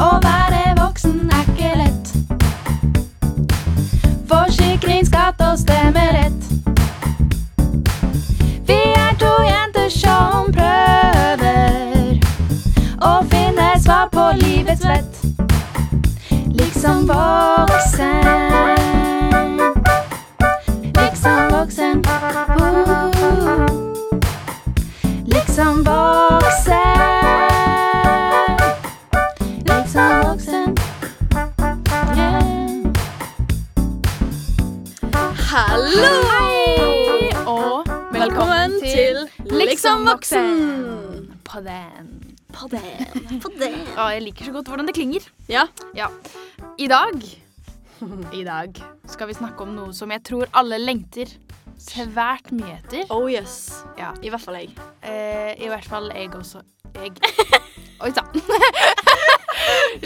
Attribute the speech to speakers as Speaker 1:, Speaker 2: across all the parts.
Speaker 1: Å være voksen er ikke lett. Forsikring, skatt og stemmerett. Vi er to jenter som prøver å finne svar på livets vett. Liksom voksen. Liksom voksen. Uh. Liksom voksen. Liksom voksen. Yeah.
Speaker 2: Hallo!
Speaker 1: Hei!
Speaker 2: Og velkommen til Liksom voksen!
Speaker 1: På den.
Speaker 2: På det. På det.
Speaker 1: Å, jeg liker så godt hvordan det klinger.
Speaker 2: Ja.
Speaker 1: I dag I dag skal vi snakke om noe som jeg tror alle lengter svært mye etter.
Speaker 2: Oh yes.
Speaker 1: Ja.
Speaker 2: I hvert fall jeg.
Speaker 1: Eh, I hvert fall jeg også. Jeg. Oi sann.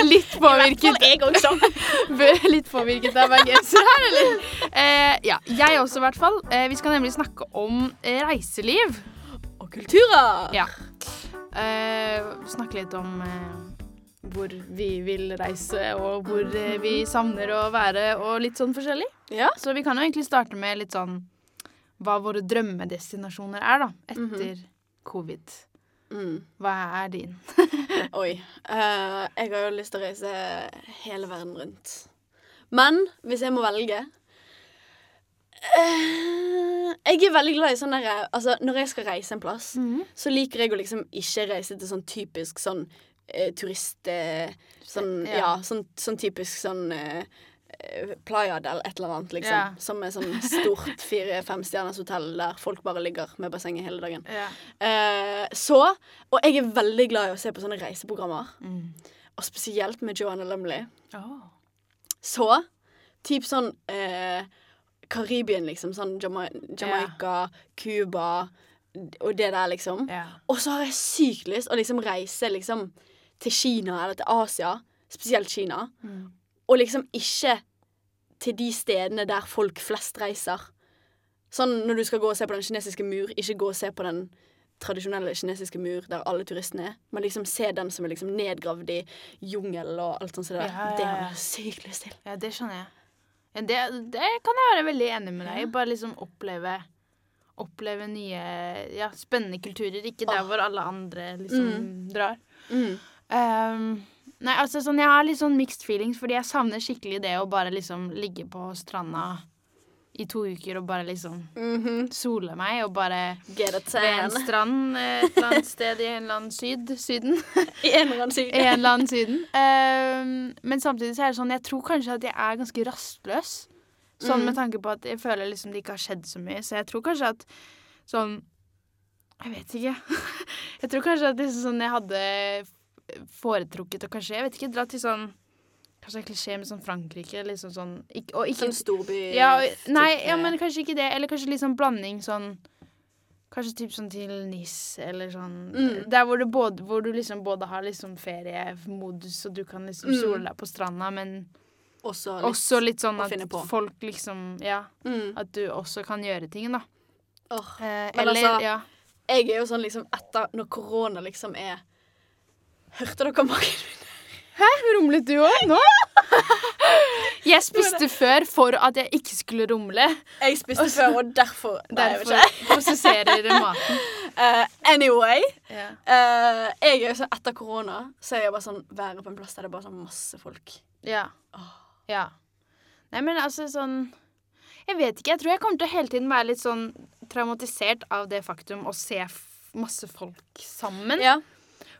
Speaker 1: Litt påvirket.
Speaker 2: jeg også.
Speaker 1: Bø- Litt påvirket av bergenser her, eller? Eh, ja, jeg også, i hvert fall. Eh, vi skal nemlig snakke om eh, reiseliv.
Speaker 2: Og kulturer.
Speaker 1: Ja. Eh, snakke litt om eh, hvor vi vil reise, og hvor eh, vi savner å være, og litt sånn forskjellig.
Speaker 2: Ja.
Speaker 1: Så vi kan jo egentlig starte med litt sånn hva våre drømmedestinasjoner er, da, etter covid.
Speaker 2: Mm.
Speaker 1: Hva er din?
Speaker 2: Oi. Eh, jeg har jo lyst til å reise hele verden rundt. Men hvis jeg må velge eh, Jeg er veldig glad i sånn derre Altså, når jeg skal reise en plass,
Speaker 1: Mhm.
Speaker 2: så liker jeg å liksom ikke reise til sånn typisk sånn eh, turist... Eh, sånn,
Speaker 1: Ja.
Speaker 2: ja. sånn, sånn typisk sånn eh, eh, Playa del et eller annet, liksom.
Speaker 1: Ja.
Speaker 2: Som er sånn stort fire-femstjerners hotell der folk bare ligger med bassenget hele dagen.
Speaker 1: Ja.
Speaker 2: Eh, så Og jeg er veldig glad i å se på sånne reiseprogrammer. Og spesielt med Joanna Lumley. Så typ sånn eh, Karibien, liksom. Sånn Jama Jamaica, Cuba og det der, liksom.
Speaker 1: ja.
Speaker 2: Og så har jeg sykt lyst å liksom reise liksom, til Kina eller til Asia, spesielt Kina,
Speaker 1: Mm.
Speaker 2: og liksom ikke til de stedene der folk flest reiser. Sånn når du skal gå og se på den kinesiske mur, ikke gå og se på den tradisjonelle kinesiske mur der alle turistene er, men liksom se den som er liksom nedgravd i jungel og alt sånt. som det der.
Speaker 1: Ja, ja,
Speaker 2: Det
Speaker 1: ja.
Speaker 2: har jeg sykt lyst til.
Speaker 1: Ja, det skjønner jeg. Ja, Det, det kan jeg være veldig enig med deg i. Bare liksom oppleve Oppleve nye, ja, spennende kulturer. Ikke der
Speaker 2: Åh.
Speaker 1: hvor alle andre liksom drar.
Speaker 2: Mm.
Speaker 1: Ehm, nei, altså sånn, Jeg har litt sånn mixed feelings, fordi jeg savner skikkelig det å bare liksom ligge på stranda i to uker og bare liksom sole meg og bare
Speaker 2: Mhm. Get a
Speaker 1: ved en
Speaker 2: tan.
Speaker 1: strand eh, et eller annet sted i en eller annen syd. Syden.
Speaker 2: I en eller annen side.
Speaker 1: I en eller annen Syden. Ehm, men samtidig så er det sånn, jeg tror kanskje at jeg er ganske rastløs. Sånn med tanke på at jeg føler liksom det ikke har skjedd så mye. Så jeg tror kanskje at sånn Jeg vet ikke. jeg tror kanskje at liksom sånn jeg hadde foretrukket å kanskje Jeg vet ikke, dra til sånn Kanskje det er klisjé med sånn Frankrike, liksom sånn ikke, Og ikke
Speaker 2: Sånn storby
Speaker 1: ja, og-
Speaker 2: type-
Speaker 1: Nei, ja, men kanskje ikke det. Eller kanskje litt sånn blanding sånn Kanskje typ sånn til NIS eller sånn.
Speaker 2: Mm.
Speaker 1: Der hvor du, både, hvor du liksom både har liksom feriemodus, og du kan liksom
Speaker 2: Mm.
Speaker 1: sole deg på stranda, men
Speaker 2: Også litt.
Speaker 1: også litt sånn
Speaker 2: å
Speaker 1: at
Speaker 2: finne på.
Speaker 1: folk liksom Ja,
Speaker 2: Mm.
Speaker 1: at du også kan gjøre ting, da.
Speaker 2: Åh.
Speaker 1: Eh,
Speaker 2: Men
Speaker 1: eller
Speaker 2: altså-
Speaker 1: ja.
Speaker 2: Jeg er jo sånn liksom etter Når korona liksom er Hørte dere magen min?
Speaker 1: Rumlet du òg nå? jeg spiste før for at jeg ikke skulle rumle.
Speaker 2: Jeg spiste før, og derfor Nei, jeg vet
Speaker 1: Derfor
Speaker 2: ikke.
Speaker 1: prosesserer maten.
Speaker 2: Eh, anyway.
Speaker 1: Ja.
Speaker 2: eh, jeg er jo sånn etter korona, så er jeg bare sånn være på en plass der det er bare sånn masse folk.
Speaker 1: Ja.
Speaker 2: Åh.
Speaker 1: Ja. Nei, men altså sånn Jeg vet ikke. Jeg tror jeg kommer til å hele tiden være litt sånn traumatisert av det faktum å se f masse folk sammen.
Speaker 2: Ja.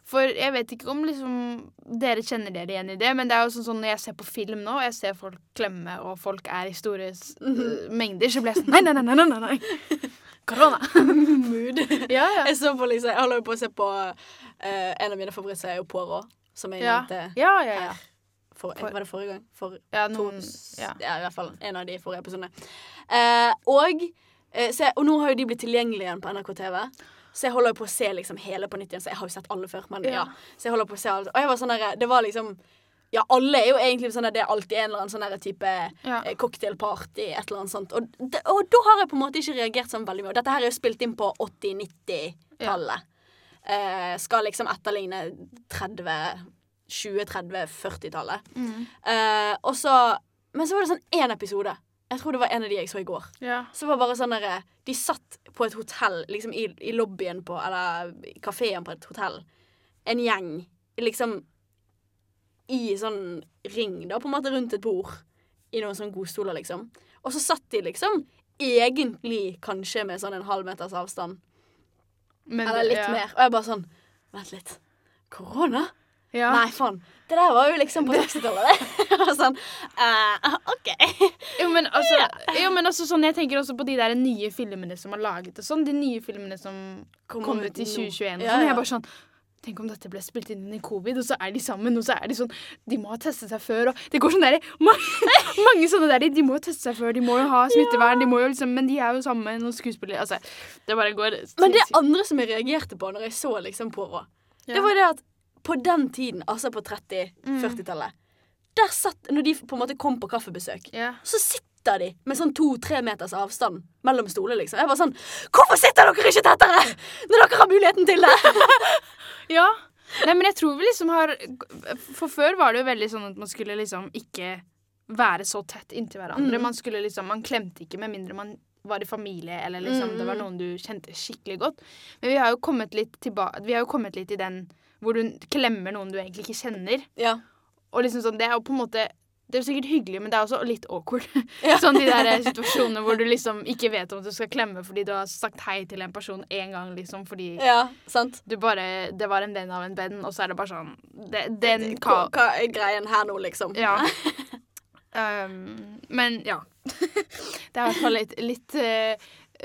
Speaker 1: For jeg vet ikke om liksom dere kjenner dere igjen i det, men det er jo sånn, sånn når jeg ser på film nå, og jeg ser folk klemme, og folk er i store s-
Speaker 2: Mhm.
Speaker 1: mengder, så blir jeg sånn Nei, nei, nei, nei, nei, nei. Korona.
Speaker 2: Mood.
Speaker 1: Ja, ja.
Speaker 2: jeg så på liksom Jeg holder jo på å se på eh, En av mine favoritter er jo Poirot, som jeg
Speaker 1: Ja,
Speaker 2: nevnte
Speaker 1: ja, ja. ja.
Speaker 2: for,
Speaker 1: For-
Speaker 2: Var det forrige gang? For
Speaker 1: ja,
Speaker 2: to
Speaker 1: noen, ja.
Speaker 2: ja, i hvert fall en av de forrige episodene. Eh, og, eh, så jeg, og nå har jo de blitt tilgjengelige igjen på NRK TV. Så jeg holder jo på å se liksom hele på nytt igjen. Så jeg har jo sett alle før. Men,
Speaker 1: Ja.
Speaker 2: ja. Så jeg holder på å se alt. Og jeg var sånn der, det var liksom Ja, alle er jo egentlig sånn der, det er alltid en eller annen sånn der type
Speaker 1: Ja.
Speaker 2: eh, cocktailparty, et eller annet sånt. Og, d- og da har jeg på en måte ikke reagert sånn veldig mye. Og dette her er jo spilt inn på 80-90-tallet. Eh, skal liksom etterligne 30 20-, 30-, 40-tallet.
Speaker 1: Mm.
Speaker 2: Eh, og så Men så var det sånn én episode. Jeg tror det var en av de jeg så i går.
Speaker 1: Ja.
Speaker 2: Så var det bare sånn derre De satt på et hotell, liksom i, i lobbyen på Eller i kafeen på et hotell. En gjeng liksom i sånn ring, da, på en måte, rundt et bord. I noen sånne godstoler, liksom. Og så satt de liksom egentlig kanskje med sånn en halv meters avstand.
Speaker 1: Men,
Speaker 2: Eller litt
Speaker 1: ja.
Speaker 2: mer. Og jeg bare sånn Vent litt. Korona?
Speaker 1: Ja.
Speaker 2: Nei, faen. Det der var jo liksom på 60-tallet. Jeg var sånn eh, OK.
Speaker 1: Jo, men altså, jo, men altså sånn, Jeg tenker også på de der nye filmene som er laget, og sånn, de nye filmene som
Speaker 2: Kommer
Speaker 1: kom
Speaker 2: ut
Speaker 1: ut i
Speaker 2: nå.
Speaker 1: 2021. Og
Speaker 2: Ja,
Speaker 1: sånn, og
Speaker 2: ja.
Speaker 1: jeg bare sånn Tenk om dette ble spilt inn i covid, og så er de sammen. Og så er de sånn De må ha testet seg før, og Det går sånn der mange, mange sånne der De må jo teste seg før, de må jo ha smittevern, de må jo liksom Men de er jo sammen, og skuespillere Altså, det bare går
Speaker 2: Men det andre som jeg reagerte på når jeg så liksom på Rå,
Speaker 1: Ja. Mm.
Speaker 2: det var det at på den tiden, altså på 30-40-tallet, der satt Når de på en måte kom på kaffebesøk,
Speaker 1: Ja.
Speaker 2: så sitter de med sånn to-tre meters avstand mellom stoler, liksom. Jeg var sånn Hvorfor sitter dere ikke tettere når dere har muligheten til det?
Speaker 1: ja. Nei, men jeg tror vi liksom har For før var det jo veldig sånn at man skulle liksom ikke være så tett inntil hverandre.
Speaker 2: Mm.
Speaker 1: Man skulle liksom Man klemte ikke med mindre man var i familie eller liksom det
Speaker 2: Mm.
Speaker 1: var noen du kjente skikkelig godt. Men vi har jo kommet litt tilbake Vi har jo kommet litt i den hvor du klemmer noen du egentlig ikke kjenner.
Speaker 2: Ja.
Speaker 1: Og liksom sånn, det er jo på en måte Det er jo sikkert hyggelig, men det er også litt awkward.
Speaker 2: Ja.
Speaker 1: sånn de der eh, situasjonene hvor du liksom ikke vet om du skal klemme fordi du har sagt hei til en person én gang, liksom, fordi
Speaker 2: Ja, sant.
Speaker 1: du bare Det var en venn av en venn, og så er det bare sånn det, Den
Speaker 2: Hva,
Speaker 1: ka...
Speaker 2: hva er greien her nå, liksom?
Speaker 1: Ja. Um, men ja. Det er i hvert fall litt, litt eh,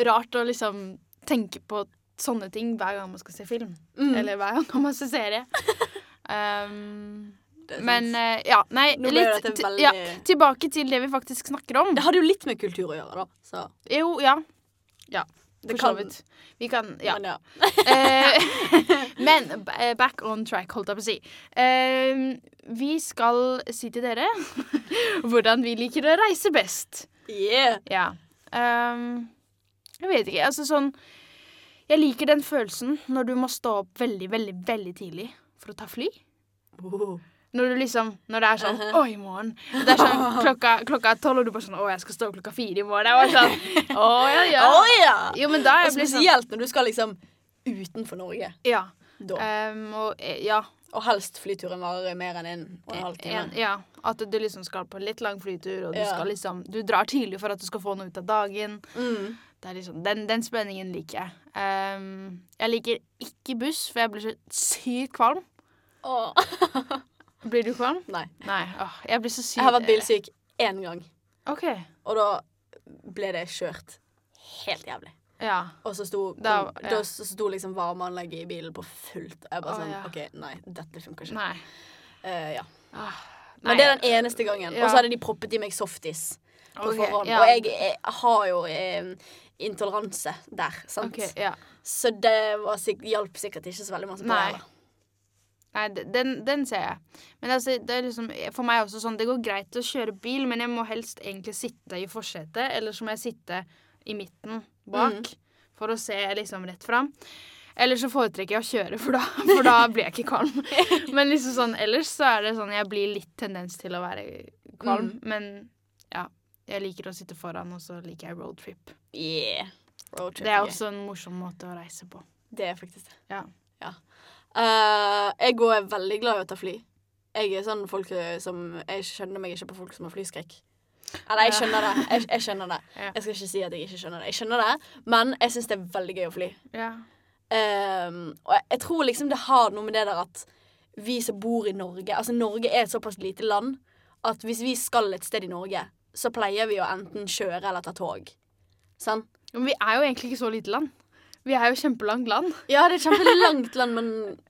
Speaker 1: rart å liksom tenke på sånne ting hver gang man skal se film.
Speaker 2: Mm.
Speaker 1: Eller hver gang man skal se serie. Um,
Speaker 2: Det er
Speaker 1: men
Speaker 2: sant.
Speaker 1: eh, ja, nei
Speaker 2: Nå ble
Speaker 1: litt,
Speaker 2: dette
Speaker 1: ti-
Speaker 2: veldig-
Speaker 1: ja, Tilbake til det vi faktisk snakker om.
Speaker 2: Det hadde jo litt med kultur å gjøre, da. Så
Speaker 1: Jo, ja. Ja,
Speaker 2: Det
Speaker 1: for så
Speaker 2: kan-
Speaker 1: vidt. Vi kan Ja.
Speaker 2: Men ja.
Speaker 1: Eh, Men b- eh, back on track, holdt jeg på å si. Eh, vi skal si til dere hvordan vi liker å reise best.
Speaker 2: Yeah.
Speaker 1: Ja. Ehm, jeg vet ikke. Altså sånn Jeg liker den følelsen når du må stå opp veldig, veldig, veldig tidlig for å ta fly.
Speaker 2: Oh.
Speaker 1: Når du liksom, når det er sånn Å, i morgen. Det er sånn klokka, klokka er tolv, og du bare sånn Å, jeg skal stå opp klokka fire i morgen. Jeg var sånn Å, ja, ja.
Speaker 2: Å ja!
Speaker 1: Jo, men da er
Speaker 2: Og
Speaker 1: jeg blitt sånn
Speaker 2: spesielt når du skal liksom utenfor Norge.
Speaker 1: Ja.
Speaker 2: Da.
Speaker 1: Ehm, og, eh, ja.
Speaker 2: Og helst flyturen varer mer enn en og en halv time.
Speaker 1: Eh, En, ja, at du liksom skal på en litt lang flytur, og du,
Speaker 2: Ja.
Speaker 1: skal liksom, du drar tidlig for at du skal få noe ut av dagen.
Speaker 2: Mm.
Speaker 1: Det er liksom, den, den spenningen liker jeg. Ehm, jeg liker ikke buss, for jeg blir så sykt kvalm.
Speaker 2: Åh.
Speaker 1: Blir du kvalm?
Speaker 2: Nei.
Speaker 1: Nei. Åh, jeg blir så sykt
Speaker 2: Jeg har vært bilsyk én gang,
Speaker 1: OK.
Speaker 2: og da ble det kjørt helt jævlig.
Speaker 1: Ja.
Speaker 2: Og så sto, kom,
Speaker 1: Da-
Speaker 2: da,
Speaker 1: ja.
Speaker 2: så sto liksom varmeanlegget i bilen på fullt. Og jeg bare
Speaker 1: Å,
Speaker 2: sånn
Speaker 1: ja.
Speaker 2: OK, nei, dette funker ikke.
Speaker 1: Nei.
Speaker 2: Eh, ja.
Speaker 1: Ah,
Speaker 2: Men det er den eneste gangen.
Speaker 1: Ja.
Speaker 2: Og så hadde de proppet i meg softis på
Speaker 1: Ok,
Speaker 2: forhånd.
Speaker 1: ja.
Speaker 2: Og jeg, jeg har jo eh, intoleranse der, sant.
Speaker 1: OK, ja.
Speaker 2: Så det var sikk- hjalp sikkert ikke så veldig masse på.
Speaker 1: Nei.
Speaker 2: heller.
Speaker 1: Nei, de- den, den ser jeg. Men altså, det er liksom, for meg er også sånn, det går greit å kjøre bil, men jeg må helst egentlig sitte i forsetet, eller så må jeg sitte i midten bak, for å se liksom rett fram. Eller så foretrekker jeg å kjøre, for da, for da blir jeg ikke kvalm. Men liksom sånn, ellers så er det sånn, jeg blir litt tendens til å være kvalm. Men ja, jeg liker å sitte foran, og så liker jeg roadtrip.
Speaker 2: Yeah. Roadtrip.
Speaker 1: Det er
Speaker 2: yeah.
Speaker 1: også en morsom måte å reise på.
Speaker 2: Det er faktisk det.
Speaker 1: Ja.
Speaker 2: Ja. Eh, jeg går er veldig glad i å ta fly. Jeg er sånn folk eh, som Jeg skjønner meg ikke på folk som har flyskrekk. Eller jeg
Speaker 1: Ja.
Speaker 2: skjønner det. Jeg, jeg skjønner det.
Speaker 1: Ja.
Speaker 2: Jeg skal ikke si at jeg ikke skjønner det. Jeg skjønner det, men jeg syns det er veldig gøy å fly.
Speaker 1: Ja.
Speaker 2: Ehm, og jeg, jeg tror liksom det har noe med det der at vi som bor i Norge Altså Norge er et såpass lite land at hvis vi skal et sted i Norge, så pleier vi å enten kjøre eller ta tog. Sant?
Speaker 1: Men vi er jo egentlig ikke så lite land. Vi er jo kjempelangt land.
Speaker 2: Ja, det er et kjempelangt land, men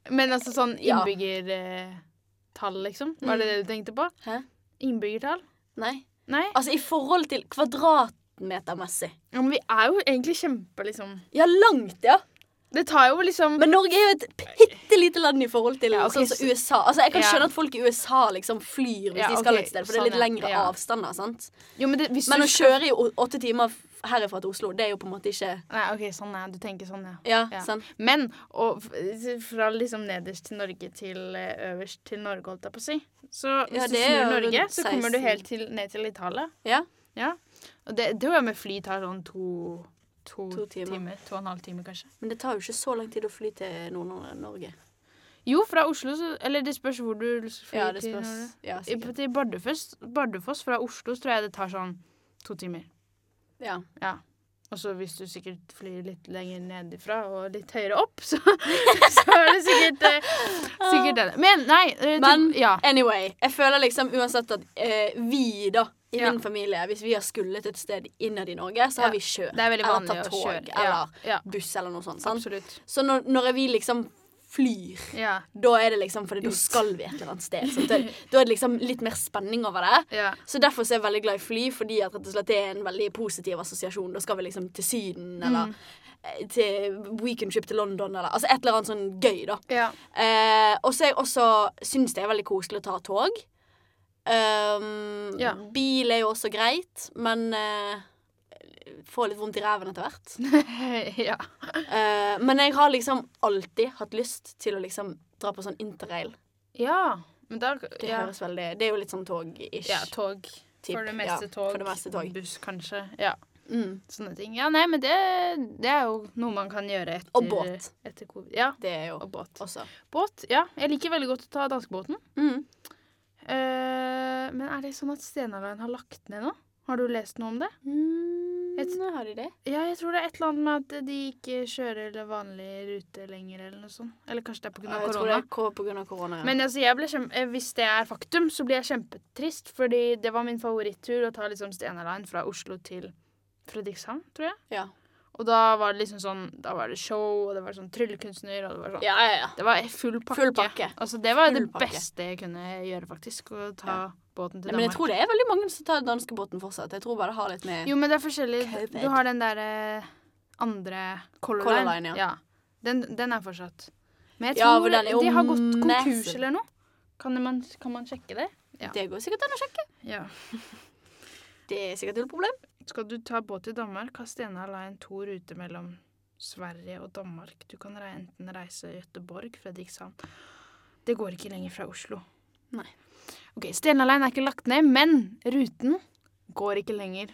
Speaker 1: Men altså sånn
Speaker 2: Ja.
Speaker 1: innbyggertall, liksom? Var det det du tenkte på?
Speaker 2: Hæ?
Speaker 1: Innbyggertall?
Speaker 2: Nei.
Speaker 1: Nei.
Speaker 2: Altså i forhold til kvadratmetermessig.
Speaker 1: Ja, men vi er jo egentlig kjempe, liksom.
Speaker 2: Ja, langt, ja.
Speaker 1: Det tar jo liksom
Speaker 2: Men Norge er jo et bitte lite land i forhold til
Speaker 1: Ja, ok,
Speaker 2: sånn
Speaker 1: så-
Speaker 2: som USA. Altså Jeg kan
Speaker 1: Ja.
Speaker 2: skjønne at folk i USA liksom flyr hvis
Speaker 1: Ja,
Speaker 2: de skal
Speaker 1: ok,
Speaker 2: et sted, for det er
Speaker 1: sånn,
Speaker 2: litt
Speaker 1: ja.
Speaker 2: lengre
Speaker 1: Ja.
Speaker 2: avstander. sant?
Speaker 1: Jo, men det, hvis
Speaker 2: Men
Speaker 1: du
Speaker 2: å
Speaker 1: skal-
Speaker 2: kjøre i å- åtte timer herifra til Oslo. Det er jo på en måte ikke
Speaker 1: Nei, OK, sånn er Du tenker sånn, ja.
Speaker 2: Ja,
Speaker 1: Ja.
Speaker 2: sant?
Speaker 1: Men og f- fra liksom nederst til Norge til eh, øverst til Norge, holdt jeg på å si. Så hvis
Speaker 2: Ja,
Speaker 1: du
Speaker 2: det er
Speaker 1: snur
Speaker 2: jo
Speaker 1: Norge,
Speaker 2: rundt
Speaker 1: så kommer du
Speaker 2: 16.
Speaker 1: helt til, ned til Italia.
Speaker 2: Ja.
Speaker 1: Ja. Og det, det å være med fly tar sånn to, to,
Speaker 2: To timer.
Speaker 1: timer. To og en halv time, kanskje.
Speaker 2: Men det tar jo ikke så lang tid å fly til Nord-Norge.
Speaker 1: Jo, fra Oslo så Eller det spørs hvor du flyr
Speaker 2: Ja, det
Speaker 1: til.
Speaker 2: spørs.
Speaker 1: når
Speaker 2: Ja,
Speaker 1: du-
Speaker 2: sikkert.
Speaker 1: Til Bardufoss, Bardufoss fra Oslo så tror jeg det tar sånn to timer.
Speaker 2: Ja.
Speaker 1: Ja. Og så hvis du sikkert flyr litt lenger nedifra og litt høyere opp, så, så er det sikkert, eh, sikkert det. Men nei eh, til-
Speaker 2: Men-
Speaker 1: ja.
Speaker 2: Anyway, jeg føler liksom uansett at eh, vi, da, i
Speaker 1: Ja.
Speaker 2: min familie, hvis vi har skullet et sted innad i Norge, så har
Speaker 1: Ja.
Speaker 2: vi kjørt.
Speaker 1: Det er veldig
Speaker 2: eller
Speaker 1: vanlig
Speaker 2: tatt
Speaker 1: å
Speaker 2: tog,
Speaker 1: kjøre. Ja,
Speaker 2: eller
Speaker 1: ja,
Speaker 2: buss eller noe sånt. Sant?
Speaker 1: absolutt.
Speaker 2: Så når, når vi liksom flyr
Speaker 1: Ja,
Speaker 2: da er det liksom, fordi da
Speaker 1: Ut.
Speaker 2: skal vi et eller annet sted. Sant? Det- Da er det liksom litt mer spenning over det.
Speaker 1: ja.
Speaker 2: Så Derfor så er jeg veldig glad i fly, fordi at rett og slett det er en veldig positiv assosiasjon. Da skal vi liksom til Syden,
Speaker 1: Mm.
Speaker 2: eller eh, til weekendtrip til London, eller altså et eller annet sånn gøy, da.
Speaker 1: ja.
Speaker 2: Eh, og så er jeg også syns det er veldig koselig å ta tog. Um,
Speaker 1: Ja.
Speaker 2: Bil er jo også greit, men eh, får litt vondt i ræven etter hvert.
Speaker 1: ja.
Speaker 2: Eh, men jeg har liksom alltid hatt lyst til å liksom dra på sånn interrail.
Speaker 1: Ja. Men da
Speaker 2: Det
Speaker 1: ja.
Speaker 2: høres veldig Det er jo litt sånn tog-ish.
Speaker 1: ja, tog.
Speaker 2: typ.
Speaker 1: For det meste
Speaker 2: Ja,
Speaker 1: tog.
Speaker 2: For det meste tog.
Speaker 1: Buss, kanskje. Ja,
Speaker 2: Mm.
Speaker 1: sånne ting. Ja, nei, men det, det er jo noe man kan gjøre etter
Speaker 2: Og båt.
Speaker 1: Etter covid. Ja,
Speaker 2: Det er jo
Speaker 1: og båt.
Speaker 2: også Mm.
Speaker 1: Båt, ja. Jeg liker veldig godt å ta danskebåten. Eh, men er det sånn at Stenaline har lagt ned nå? Har du lest noe om det?
Speaker 2: Et,
Speaker 1: Et-
Speaker 2: Mm, har de det?
Speaker 1: Ja, jeg tror det er et eller annet med at de ikke kjører det vanlige rute lenger, eller noe sånt. Eller kanskje det er
Speaker 2: jeg
Speaker 1: pga.
Speaker 2: tror det
Speaker 1: korona.
Speaker 2: er ko- på grunn av korona. ja.
Speaker 1: Men altså, jeg ble kjem- eh, hvis det er faktum, så blir jeg kjempetrist. Fordi det var min favorittur å ta liksom Stenaline fra Oslo til Fredrikshavn, tror jeg.
Speaker 2: ja.
Speaker 1: Og da var det liksom sånn Da var det show, og det var sånn tryllekunstner, og det var sånn
Speaker 2: ja, ja, ja.
Speaker 1: Det var full pakke.
Speaker 2: Full pakke.
Speaker 1: Altså, det var
Speaker 2: Full
Speaker 1: det
Speaker 2: pakke.
Speaker 1: beste jeg kunne gjøre, faktisk. Å ta båten til
Speaker 2: Nei, men jeg
Speaker 1: Danmark.
Speaker 2: tror det er veldig mange som tar danskebåten fortsatt. Jeg tror bare det har litt med
Speaker 1: Jo, men det er forskjellig.
Speaker 2: Covid.
Speaker 1: Du har den derre andre Color Line.
Speaker 2: Color Line, ja.
Speaker 1: Den, den er fortsatt. Men jeg
Speaker 2: Ja,
Speaker 1: tror
Speaker 2: for den er jo
Speaker 1: de har gått konkurs
Speaker 2: massive.
Speaker 1: eller noe. Kan man, kan man sjekke det? ja.
Speaker 2: Det går sikkert an å sjekke.
Speaker 1: Ja.
Speaker 2: Det er sikkert null problem.
Speaker 1: Skal du ta båt til Danmark, har Stena Line to ruter mellom Sverige og Danmark. Du kan rei- enten reise Göteborg, Fredrikshavn Det går ikke lenger fra Oslo.
Speaker 2: Nei.
Speaker 1: Ok, Stena Line er ikke lagt ned, men ruten går ikke lenger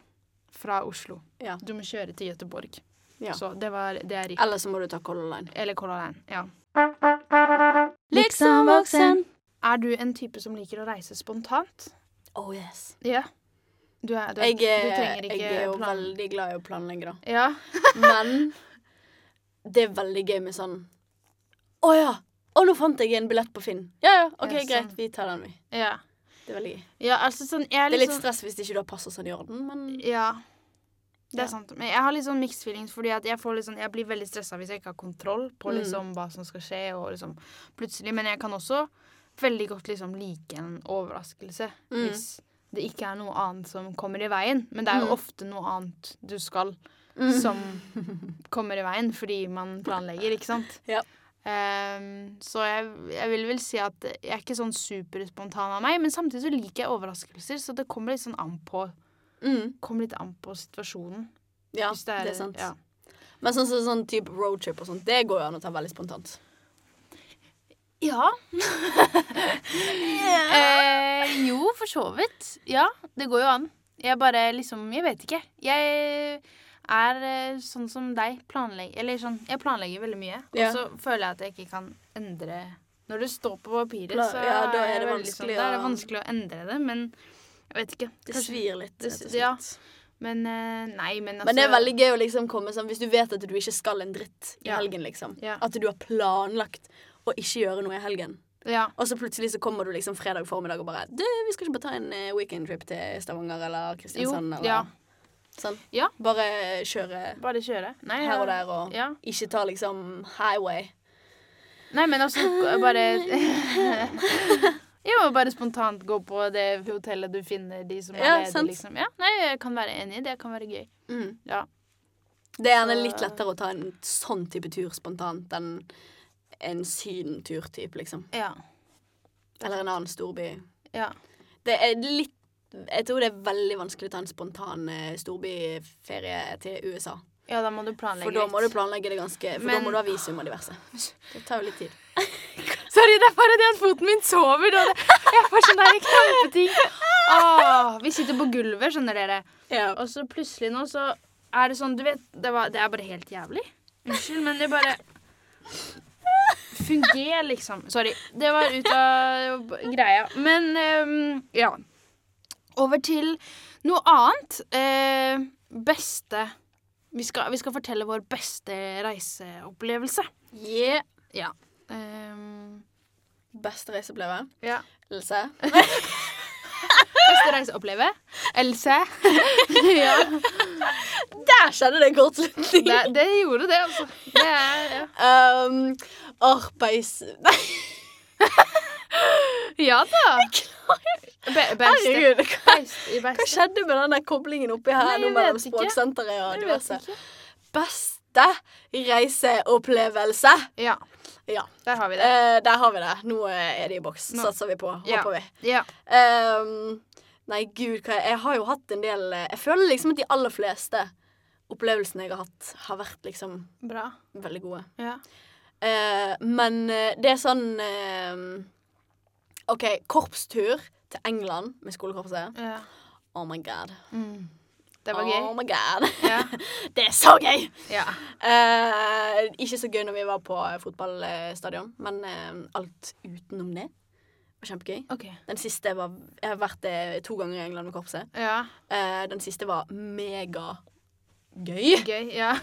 Speaker 1: fra Oslo.
Speaker 2: Ja.
Speaker 1: Du må kjøre til Göteborg.
Speaker 2: Ja.
Speaker 1: Så det, var, det er riktig.
Speaker 2: Eller så må du ta Color Line.
Speaker 1: Eller Color Line. Ja.
Speaker 2: Liksom voksen.
Speaker 1: Er du en type som liker å reise spontant?
Speaker 2: Oh yes.
Speaker 1: Ja. Du, er, du, er-
Speaker 2: Jeg,
Speaker 1: du
Speaker 2: er-
Speaker 1: trenger ikke
Speaker 2: jeg er jo
Speaker 1: plan-
Speaker 2: veldig glad i å planlegge, da.
Speaker 1: Ja.
Speaker 2: Men det er veldig gøy med sånn Å ja! Å, nå fant jeg en billett på Finn. Ja ja, OK,
Speaker 1: Ja, sånn.
Speaker 2: greit. Vi tar den, vi.
Speaker 1: ja.
Speaker 2: Det er veldig gøy.
Speaker 1: Ja, altså sånn jeg er
Speaker 2: Det er litt
Speaker 1: sånn-
Speaker 2: stress hvis ikke du har passet sånn i orden, men
Speaker 1: Ja. Det
Speaker 2: Ja.
Speaker 1: er sant. Men jeg har litt sånn mixed feelings, fordi at jeg, får litt sånn, jeg blir veldig stressa hvis jeg ikke har kontroll på
Speaker 2: Mm.
Speaker 1: liksom, hva som skal skje, og liksom plutselig. Men jeg kan også veldig godt liksom like en overraskelse
Speaker 2: Mm.
Speaker 1: hvis det ikke er noe annet som kommer i veien. Men det er jo
Speaker 2: Mm.
Speaker 1: ofte noe annet du skal
Speaker 2: Mm.
Speaker 1: som kommer i veien, fordi man planlegger, ikke sant?
Speaker 2: Ja.
Speaker 1: Ehm, så jeg, jeg vil vel si at jeg er ikke sånn superspontan av meg, men samtidig så liker jeg overraskelser, så det kommer litt sånn an på
Speaker 2: mm.
Speaker 1: kommer litt an på situasjonen.
Speaker 2: Ja,
Speaker 1: hvis
Speaker 2: det er sant.
Speaker 1: Ja.
Speaker 2: Men sånn som sånn, type roadtrip og sånt, det går jo an å ta veldig spontant.
Speaker 1: Eh, jo, for så vidt. Ja, det går jo an. Jeg bare liksom Jeg vet ikke. Jeg er eh, sånn som deg. Planlegger Eller sånn Jeg planlegger veldig mye.
Speaker 2: Ja.
Speaker 1: Og så føler jeg at jeg ikke kan endre Når det står på papiret,
Speaker 2: Pla-
Speaker 1: så
Speaker 2: ja, da er
Speaker 1: jeg
Speaker 2: det
Speaker 1: veldig
Speaker 2: vanskelig
Speaker 1: sånn, Da er det
Speaker 2: å-
Speaker 1: vanskelig å endre det, men jeg vet ikke.
Speaker 2: Det
Speaker 1: Kanskje-
Speaker 2: svir litt.
Speaker 1: det
Speaker 2: rett og
Speaker 1: s- ja.
Speaker 2: slett.
Speaker 1: Men eh, nei, men altså
Speaker 2: Men det er veldig gøy å liksom komme sånn Hvis du vet at du ikke skal en dritt i
Speaker 1: Ja.
Speaker 2: helgen, liksom.
Speaker 1: Ja.
Speaker 2: At du har planlagt å ikke gjøre noe i helgen.
Speaker 1: Ja.
Speaker 2: Og så plutselig så kommer du liksom fredag formiddag og bare Du, vi skal ikke bare ta en eh, weekendtrip til Stavanger eller Kristiansand
Speaker 1: Jo,
Speaker 2: eller
Speaker 1: ja.
Speaker 2: sånn.
Speaker 1: Ja.
Speaker 2: Bare kjøre
Speaker 1: Bare kjøre. Nei,
Speaker 2: her og
Speaker 1: ja.
Speaker 2: der og
Speaker 1: Ja.
Speaker 2: ikke ta liksom highway.
Speaker 1: Nei, men altså bare Jo, bare spontant gå på det hotellet du finner de som er
Speaker 2: Ja,
Speaker 1: ledige,
Speaker 2: sant.
Speaker 1: liksom. Ja, nei, jeg kan være enig. Det kan være gøy.
Speaker 2: Mm.
Speaker 1: Ja.
Speaker 2: Det er gjerne
Speaker 1: Så-
Speaker 2: litt lettere å ta en sånn type tur spontant enn en sydentur-type, liksom.
Speaker 1: Ja.
Speaker 2: Eller en annen storby.
Speaker 1: Ja.
Speaker 2: Det er litt Jeg tror det er veldig vanskelig å ta en spontan eh, storbyferie til USA.
Speaker 1: Ja, da må du planlegge
Speaker 2: For da må du planlegge det ganske For da
Speaker 1: Men-
Speaker 2: må du ha visum og diverse. Det tar jo litt tid.
Speaker 1: Sorry, det er bare det at foten min sover. Da. Jeg får sånn der krampeting. Åh, vi sitter på gulvet, skjønner dere. Og så plutselig nå så er det sånn, du vet Det, var, det er bare helt jævlig. Unnskyld, men det bare Funger, liksom. Sorry. Det var ut av greia. Men ehm, ja. Over til noe annet. Eh, beste vi skal, vi skal fortelle vår beste reiseopplevelse.
Speaker 2: Yeah.
Speaker 1: Ja. Ehm,
Speaker 2: Beste reiseopplevelse?
Speaker 1: ja.
Speaker 2: Else?
Speaker 1: Beste reiseoppleve. Else. ja,
Speaker 2: Der skjedde det kortslutning!
Speaker 1: det, det gjorde det, altså. Det er, ja.
Speaker 2: Um, arbeids... Nei,
Speaker 1: ja da. Be beste.
Speaker 2: herregud. Hva,
Speaker 1: Best i
Speaker 2: hva
Speaker 1: beste.
Speaker 2: skjedde med den der koblingen oppi her
Speaker 1: Nei, jeg
Speaker 2: nå mellom
Speaker 1: vet ikke.
Speaker 2: språksenteret og
Speaker 1: Jeg vet
Speaker 2: diverse?
Speaker 1: ikke.
Speaker 2: Beste reiseopplevelse.
Speaker 1: Ja,
Speaker 2: Ja,
Speaker 1: der har vi det.
Speaker 2: eh, der har vi det. Nå eh, er de i boks,
Speaker 1: Nå.
Speaker 2: satser vi på.
Speaker 1: Ja.
Speaker 2: Håper vi.
Speaker 1: Ja.
Speaker 2: Ehm, nei, gud, hva jeg, jeg har jo hatt en del eh, Jeg føler liksom at de aller fleste opplevelsene jeg har hatt, har vært liksom
Speaker 1: Bra.
Speaker 2: veldig gode.
Speaker 1: Ja.
Speaker 2: Eh, men eh, det er sånn eh, OK, korpstur til England med skolekorpset.
Speaker 1: ja.
Speaker 2: Oh my god.
Speaker 1: Mm. Det var gøy.
Speaker 2: Oh my god.
Speaker 1: Ja.
Speaker 2: Det er så gøy!
Speaker 1: ja.
Speaker 2: Eh, ikke så gøy når vi var på eh, fotballstadion, men eh, alt utenom det var kjempegøy.
Speaker 1: OK.
Speaker 2: Den siste var Jeg har vært eh, to ganger i England med korpset.
Speaker 1: Ja.
Speaker 2: Eh, den siste var megagøy. Gøy.
Speaker 1: Gøy. Ja.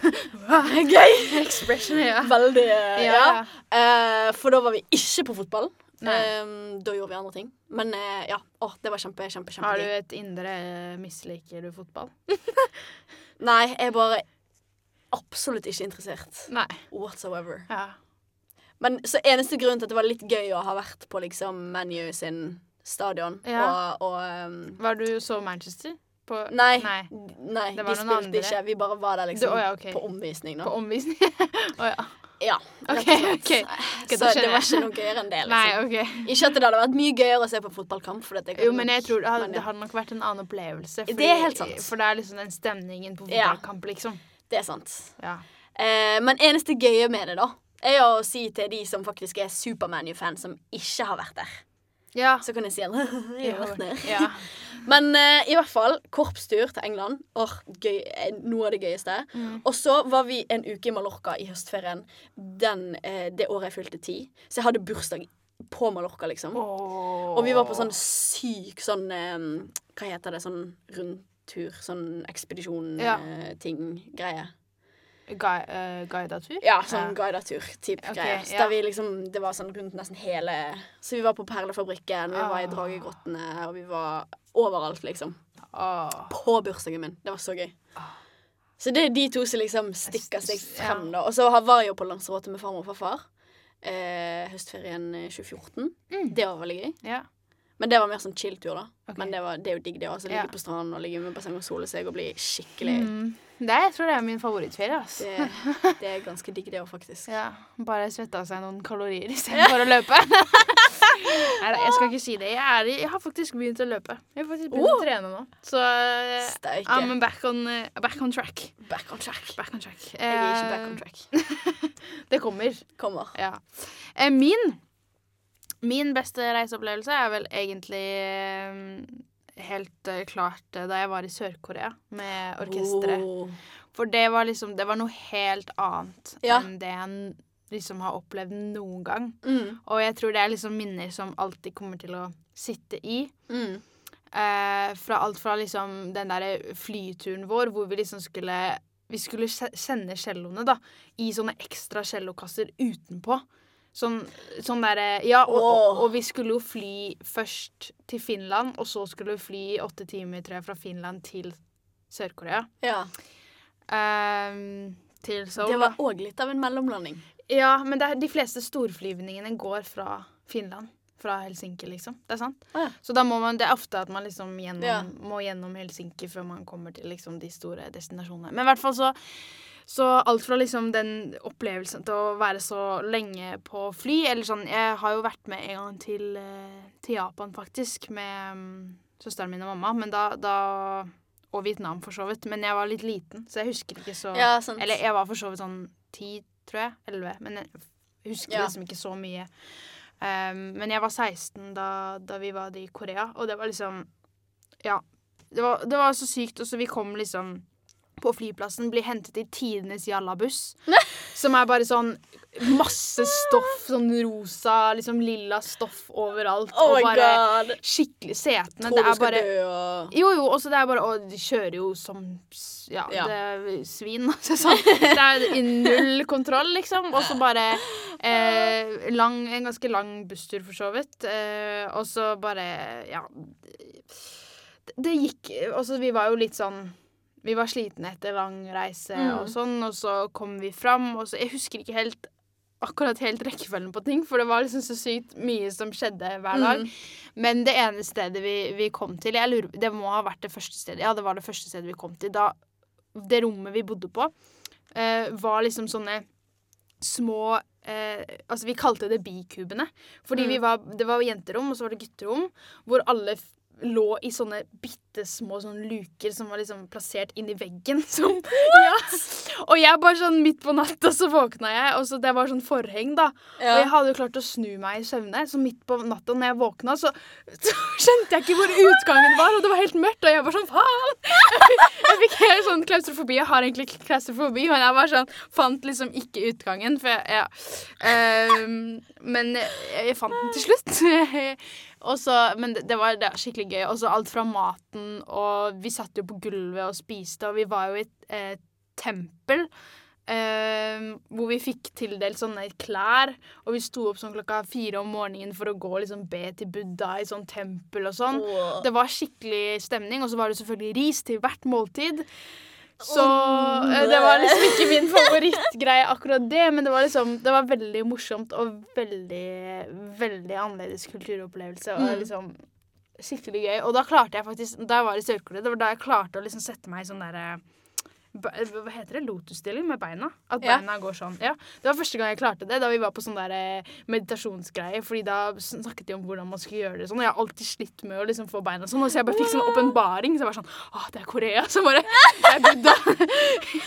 Speaker 1: Expression, ja.
Speaker 2: Veldig eh,
Speaker 1: Ja,
Speaker 2: Ja.
Speaker 1: ja.
Speaker 2: Eh, for da var vi ikke på fotball.
Speaker 1: Nei.
Speaker 2: Eh, da gjorde vi andre ting. Men eh, ja, Å, det var kjempe, kjempe,
Speaker 1: Har du
Speaker 2: kjempegøy.
Speaker 1: et indre eh, Misliker du fotball?
Speaker 2: Nei, jeg er bare absolutt ikke interessert.
Speaker 1: Nei.
Speaker 2: Whatsoever.
Speaker 1: Ja.
Speaker 2: Men så eneste grunn til at det var litt gøy å ha vært på liksom ManU sin stadion
Speaker 1: Ja.
Speaker 2: og, og ehm,
Speaker 1: Var du så Manchester? På
Speaker 2: Nei.
Speaker 1: Nei.
Speaker 2: Nei,
Speaker 1: Det
Speaker 2: de
Speaker 1: var
Speaker 2: spilte
Speaker 1: noen andre.
Speaker 2: ikke. Vi bare var der liksom
Speaker 1: Du- å ja, ok.
Speaker 2: på omvisning
Speaker 1: På
Speaker 2: nå.
Speaker 1: omvisning? Å ja.
Speaker 2: ja, rett og
Speaker 1: Ok,
Speaker 2: slett.
Speaker 1: ok. Ok, da
Speaker 2: Så det
Speaker 1: skjønner
Speaker 2: var
Speaker 1: jeg.
Speaker 2: ikke noe gøyere enn det. liksom.
Speaker 1: Nei, OK.
Speaker 2: Ikke at det hadde vært mye gøyere å se på en fotballkamp. For dette kan
Speaker 1: Jo, men jeg tror det hadde,
Speaker 2: men
Speaker 1: det hadde nok vært en annen opplevelse.
Speaker 2: Det er helt sant.
Speaker 1: For det er liksom den stemningen på
Speaker 2: Ja.
Speaker 1: fotballkamp, liksom.
Speaker 2: Det er sant.
Speaker 1: Ja.
Speaker 2: Eh, men eneste gøye med det, da, er jo å si til de som faktisk er Supermanu-fan, som ikke har vært der.
Speaker 1: Ja.
Speaker 2: Så kan jeg si at jeg har vært der.
Speaker 1: ja.
Speaker 2: Men eh, i hvert fall, korpstur til England. Åh, gøy, eh, Noe av det gøyeste.
Speaker 1: Mm.
Speaker 2: Og så var vi en uke i Mallorca i høstferien den, eh, det året jeg fylte ti. Så jeg hadde bursdag på Mallorca, liksom. Og vi var på sånn syk sånn eh, Hva heter det? Sånn rundtur, sånn eh,
Speaker 1: Ja.
Speaker 2: ekspedisjon-ting-greie.
Speaker 1: Gui- eh, Guida tur?
Speaker 2: ja, sånn
Speaker 1: Ja.
Speaker 2: guidatur-type
Speaker 1: Ok,
Speaker 2: greier. Så
Speaker 1: ja.
Speaker 2: der vi liksom, det var sånn rundt nesten hele Så vi var på Perlefabrikken, vi var i
Speaker 1: Ah.
Speaker 2: Dragegrottene, og vi var overalt, liksom.
Speaker 1: Åh.
Speaker 2: på bursdagen min. Det var så gøy. Så det er de to som liksom stikker seg frem,
Speaker 1: Ja.
Speaker 2: da. Og så har- var jeg jo på Lanzarote med farmor og farfar. Eh, høstferien eh, 2014.
Speaker 1: Mm.
Speaker 2: Det var veldig gøy.
Speaker 1: Ja.
Speaker 2: Men det var mer sånn chill-tur, da.
Speaker 1: Ok.
Speaker 2: Men det, var, det er jo digg, det også.
Speaker 1: Ja.
Speaker 2: Ligge på stranden og ligge med basseng og sole seg og bli skikkelig
Speaker 1: Mm. Det, er- jeg tror det er min favorittferie, ass.
Speaker 2: det, det er ganske digg, det òg, faktisk.
Speaker 1: Ja. Bare svette av seg noen kalorier istedenfor å løpe. Nei da, jeg skal ikke si det. Jeg, er, i- jeg har faktisk begynt å løpe. Jeg har faktisk begynt
Speaker 2: Oh.
Speaker 1: å trene nå. Så eh,
Speaker 2: Steike.
Speaker 1: I'm back on, eh, back on track.
Speaker 2: Back on track.
Speaker 1: Back on track.
Speaker 2: Jeg er ikke back on
Speaker 1: Eh,
Speaker 2: track.
Speaker 1: Det kommer.
Speaker 2: Kommer.
Speaker 1: Ja. Eh, Min, min beste reiseopplevelse er vel egentlig eh, helt eh, klart eh, da jeg var i Sør-Korea med orkesteret.
Speaker 2: Oh.
Speaker 1: For det var liksom Det var noe helt annet
Speaker 2: Ja.
Speaker 1: enn det en liksom har opplevd noen gang.
Speaker 2: Mm.
Speaker 1: Og jeg tror det er liksom minner som alltid kommer til å sitte i.
Speaker 2: Mm.
Speaker 1: Eh, fra alt fra liksom den derre flyturen vår hvor vi liksom skulle Vi skulle se- sende celloene, da, i sånne ekstra cellokasser utenpå. Sånn, sånn derre Ja, og, og,
Speaker 2: Åh.
Speaker 1: og vi skulle jo fly først til Finland, og så skulle vi fly i åtte timer, tror jeg, fra Finland til Sør-Korea.
Speaker 2: Ja.
Speaker 1: Ehm, til Seoul.
Speaker 2: Det var
Speaker 1: da.
Speaker 2: òg litt av en mellomlanding.
Speaker 1: Ja, men det er, de fleste storflyvningene går fra Finland. Fra Helsinki, liksom. Det er sant.
Speaker 2: Å ja.
Speaker 1: Så da må man, det er ofte at man liksom gjennom,
Speaker 2: Ja.
Speaker 1: må gjennom Helsinki før man kommer til liksom de store destinasjonene. Men i hvert fall så, så alt fra liksom den opplevelsen til å være så lenge på fly, eller sånn, jeg har jo vært med en gang til, eh, til Japan faktisk, med mm, søsteren min og mamma, men da, da Og Vietnam, for så vidt. Men jeg var litt liten, så jeg husker ikke så
Speaker 2: Ja, sant.
Speaker 1: Eller jeg var for så vidt sånn ti, tror jeg. Elleve. Men jeg husker
Speaker 2: Ja.
Speaker 1: liksom ikke så mye. Ehm, men jeg var 16 da, da vi var i Korea, og det var liksom Ja. Det var, det var så sykt. Og så vi kom liksom på flyplassen, blir hentet i tidenes jallabuss. som er bare sånn masse stoff, sånn rosa, liksom lilla stoff overalt.
Speaker 2: Oh
Speaker 1: og
Speaker 2: my
Speaker 1: bare
Speaker 2: god!
Speaker 1: skikkelig setene.
Speaker 2: Tror
Speaker 1: Det
Speaker 2: du
Speaker 1: er
Speaker 2: skal
Speaker 1: bare
Speaker 2: dø og
Speaker 1: jo, jo, også det er bare å de kjører jo som s- ja,
Speaker 2: Ja.
Speaker 1: Det er svin. Altså, sånn. Det er i null kontroll, liksom. Og så bare eh, lang, en ganske lang busstur, for så vidt. Eh, og så bare Ja. Det, det gikk Altså, vi var jo litt sånn Vi var slitne etter lang reise
Speaker 2: Mm.
Speaker 1: og sånn, og så kom vi fram, og så Jeg husker ikke helt akkurat helt rekkefølgen på ting, for det var liksom så sykt mye som skjedde hver dag.
Speaker 2: Mm.
Speaker 1: Men det ene stedet vi, vi kom til jeg lurer, Det må ha vært det første stedet. Ja, det var det første stedet vi kom til. Da, det rommet vi bodde på, eh, var liksom sånne små eh, Altså, vi kalte det bikubene. Fordi
Speaker 2: Mm.
Speaker 1: vi var, det var jenterom, og så var det gutterom, hvor alle f- lå i sånne bitte små sånne luker som var liksom plassert inn i veggen. Som, ja. Og jeg bare sånn midt på natta, så våkna jeg, og så det var sånn forheng, da. Og jeg
Speaker 2: ja.
Speaker 1: hadde jo klart å snu meg i søvne, så midt på natta når jeg våkna, så, så skjønte jeg ikke hvor utgangen var, og det var helt mørkt, og jeg var sånn faen! Jeg fikk helt sånn klaustrofobi. Jeg har egentlig ikke klaustrofobi, men jeg var sånn, fant liksom ikke utgangen, for jeg ja. Ehm, Men jeg jeg fant den til slutt. Og så- men det, det var det er skikkelig gøy. Og så alt fra maten, og vi satt jo på gulvet og spiste, og vi var jo i et eh, tempel. eh, hvor vi fikk tildelt sånne klær, og vi sto opp sånn klokka fire om morgenen for å gå og liksom be til Buddha i sånn tempel og sånn.
Speaker 2: Wow.
Speaker 1: Det var skikkelig stemning, og så var det selvfølgelig ris til hvert måltid. Så
Speaker 2: Åh,
Speaker 1: eh, det var liksom ikke min favorittgreie, akkurat det, men det var liksom Det var veldig morsomt og veldig, veldig annerledes kulturopplevelse. Og
Speaker 2: Mm.
Speaker 1: liksom skikkelig gøy. Og da klarte jeg faktisk Da jeg var i Sør-Korea, det var da jeg klarte å liksom sette meg i sånn derre hva heter det? Lotusstilling med beina? At
Speaker 2: Ja.
Speaker 1: beina går sånn. Ja. Det var første gang jeg klarte det, da vi var på sånn der eh, meditasjonsgreie. Fordi da snakket de om hvordan man skulle gjøre det sånn. Og jeg har alltid slitt med å liksom få beina sånn. Og så jeg bare fikk sånn åpenbaring. Så jeg var sånn Å, det er Korea! Så bare Jeg er Buddha.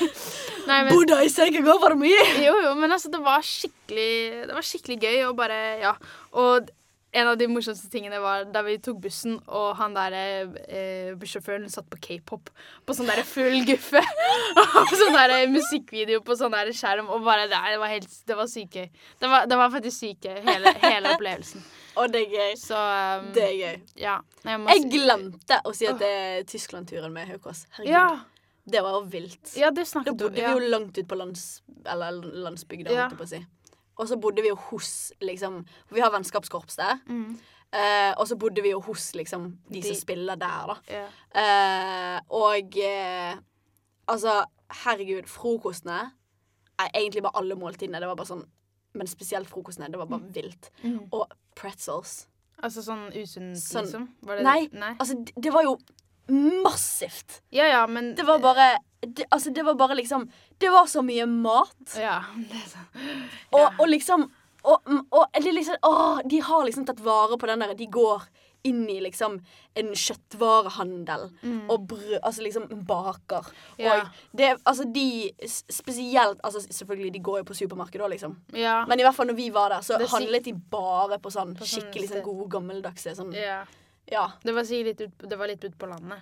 Speaker 1: Nei, men
Speaker 2: Buddha i sengen går for mye!
Speaker 1: Jo, jo, men altså, det var skikkelig Det var skikkelig gøy og bare Ja. Og en av de morsomste tingene var da vi tok bussen, og han der eh, bussjåføren satt på k-pop på sånn der full guffe. og sånn der musikkvideo på sånn der skjerm, og bare Nei, det var helt Det var sykt gøy. Det var, det var faktisk sykt gøy, hele, hele opplevelsen.
Speaker 2: Og det er gøy.
Speaker 1: Så um,
Speaker 2: Det er gøy.
Speaker 1: Ja. Jeg, må
Speaker 2: Jeg
Speaker 1: si-
Speaker 2: glemte å si at det er Tyskland-turen med Haukås. Herregud,
Speaker 1: ja,
Speaker 2: det var jo vilt.
Speaker 1: ja, det
Speaker 2: Da
Speaker 1: snakket du-
Speaker 2: bodde vi
Speaker 1: ja.
Speaker 2: jo langt ut på lands, eller landsbygda,
Speaker 1: Ja.
Speaker 2: holdt jeg på å si. Og så bodde vi jo hos liksom Vi har vennskapskorps der.
Speaker 1: Mm,
Speaker 2: Eh, og så bodde vi jo hos liksom de,
Speaker 1: De-
Speaker 2: som spiller der, da.
Speaker 1: ja.
Speaker 2: Eh, og eh, altså, herregud, frokostene Nei, egentlig bare alle måltidene. Det var bare sånn Men spesielt frokostene. Det var bare vilt.
Speaker 1: Mm.
Speaker 2: Og pretzels.
Speaker 1: Altså sånn usunt,
Speaker 2: Sånn-
Speaker 1: liksom? Var det
Speaker 2: Nei,
Speaker 1: Nei.
Speaker 2: Altså, d- det var jo massivt.
Speaker 1: Ja, ja, men
Speaker 2: Det var bare det, Altså, det var bare liksom Det var så mye mat.
Speaker 1: Ja, det er sant.
Speaker 2: Og,
Speaker 1: Ja.
Speaker 2: og liksom og, mm, og det er liksom, åh, De har liksom tatt vare på den der De går inn i liksom en kjøttvarehandel og brød Altså liksom en baker.
Speaker 1: Mm. Ja.
Speaker 2: Og det Altså de s- spesielt Altså selvfølgelig, de går jo på supermarkedet òg, liksom.
Speaker 1: Ja.
Speaker 2: Men i hvert fall når vi var der, så
Speaker 1: Det er sykt-
Speaker 2: handlet de bare på sånn
Speaker 1: På sånn
Speaker 2: skikkelig
Speaker 1: sted.
Speaker 2: sånn gode, gammeldagse sånn
Speaker 1: ja.
Speaker 2: Ja.
Speaker 1: Det var sikkert litt ut, det var litt ut på landet.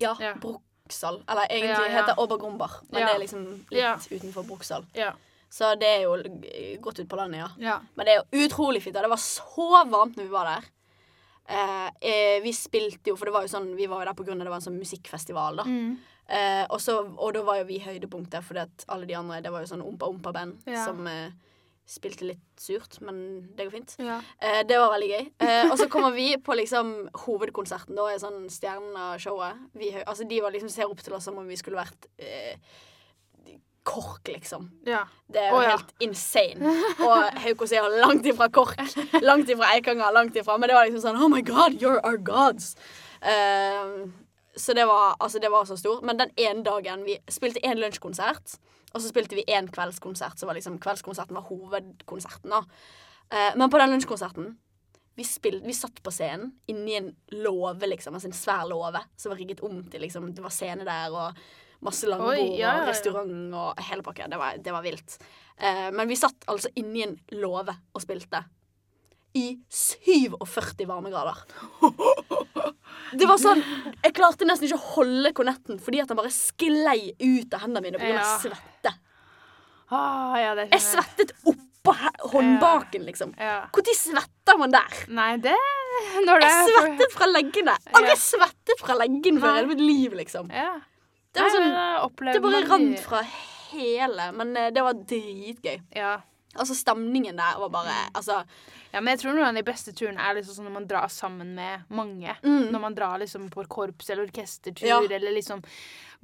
Speaker 2: ja,
Speaker 1: Ja.
Speaker 2: Bruksal. Eller egentlig
Speaker 1: Ja, ja.
Speaker 2: heter det Obergromber, men
Speaker 1: Ja.
Speaker 2: det er liksom litt
Speaker 1: Ja.
Speaker 2: utenfor Bruksal.
Speaker 1: Ja.
Speaker 2: Så det er jo l- godt ut på landet, ja.
Speaker 1: ja.
Speaker 2: Men det er jo utrolig fint. Og det var så varmt når vi var der. Eh, eh, vi spilte jo, for det var jo sånn, vi var jo der på grunn av det var en sånn musikkfestival. da.
Speaker 1: Mm.
Speaker 2: Eh, og, så, og da var jo vi høydepunktet, fordi at alle de andre det var jo sånn ompa-ompa-band
Speaker 1: Ja.
Speaker 2: som eh, spilte litt surt, men det går fint. Eh, det var veldig gøy. Eh, og så kommer vi på liksom hovedkonserten. Da er sånn stjernen av showet. Vi, hø- altså, de var liksom ser opp til oss som om vi skulle vært eh, KORK, liksom.
Speaker 1: Ja.
Speaker 2: Det er jo
Speaker 1: Å, ja.
Speaker 2: helt insane. Og Haukås er jo langt ifra KORK. Langt ifra Eikanger. Langt ifra. Men det var liksom sånn Oh my God, you're our gods. Ehm, så det var, altså det var så stor. Men den ene dagen vi spilte én lunsjkonsert, og så spilte vi én kveldskonsert, så var liksom kveldskonserten var hovedkonserten. da. Eh, men på den lunsjkonserten Vi, spill- vi satt på scenen inni en låve, liksom. Altså en svær låve som var rigget om til liksom Det var scene der og masse langbord
Speaker 1: Oi, ja, ja, ja.
Speaker 2: og restaurant og hele pakka. Det var, det var vilt. Eh, men vi satt altså inni en låve og spilte. I 47 varmegrader. Det var sånn Jeg klarte nesten ikke å holde kornetten fordi at den bare sklei ut av hendene mine pga.
Speaker 1: Ja.
Speaker 2: av svette.
Speaker 1: Ah, ja, det
Speaker 2: Jeg
Speaker 1: skjønner jeg.
Speaker 2: svettet oppå he- håndbaken, liksom.
Speaker 1: Ja.
Speaker 2: Når svetter man der?
Speaker 1: Nei, det Når det
Speaker 2: Jeg
Speaker 1: er for-
Speaker 2: svettet fra leggene.
Speaker 1: Ja.
Speaker 2: Aldri svettet fra leggene før i
Speaker 1: Nei.
Speaker 2: hele mitt liv, liksom.
Speaker 1: Ja.
Speaker 2: Det var
Speaker 1: Nei,
Speaker 2: sånn
Speaker 1: men eh, da opplever
Speaker 2: Det bare
Speaker 1: man
Speaker 2: rant
Speaker 1: mye.
Speaker 2: fra hele, men eh, det var dritgøy.
Speaker 1: Ja.
Speaker 2: Altså, stemningen der var bare
Speaker 1: Mm.
Speaker 2: Altså,
Speaker 1: ja, men jeg tror noen av de beste turene er liksom sånn når man drar sammen med mange.
Speaker 2: mm,
Speaker 1: Når man drar liksom på korps- eller orkestertur,
Speaker 2: Ja.
Speaker 1: eller liksom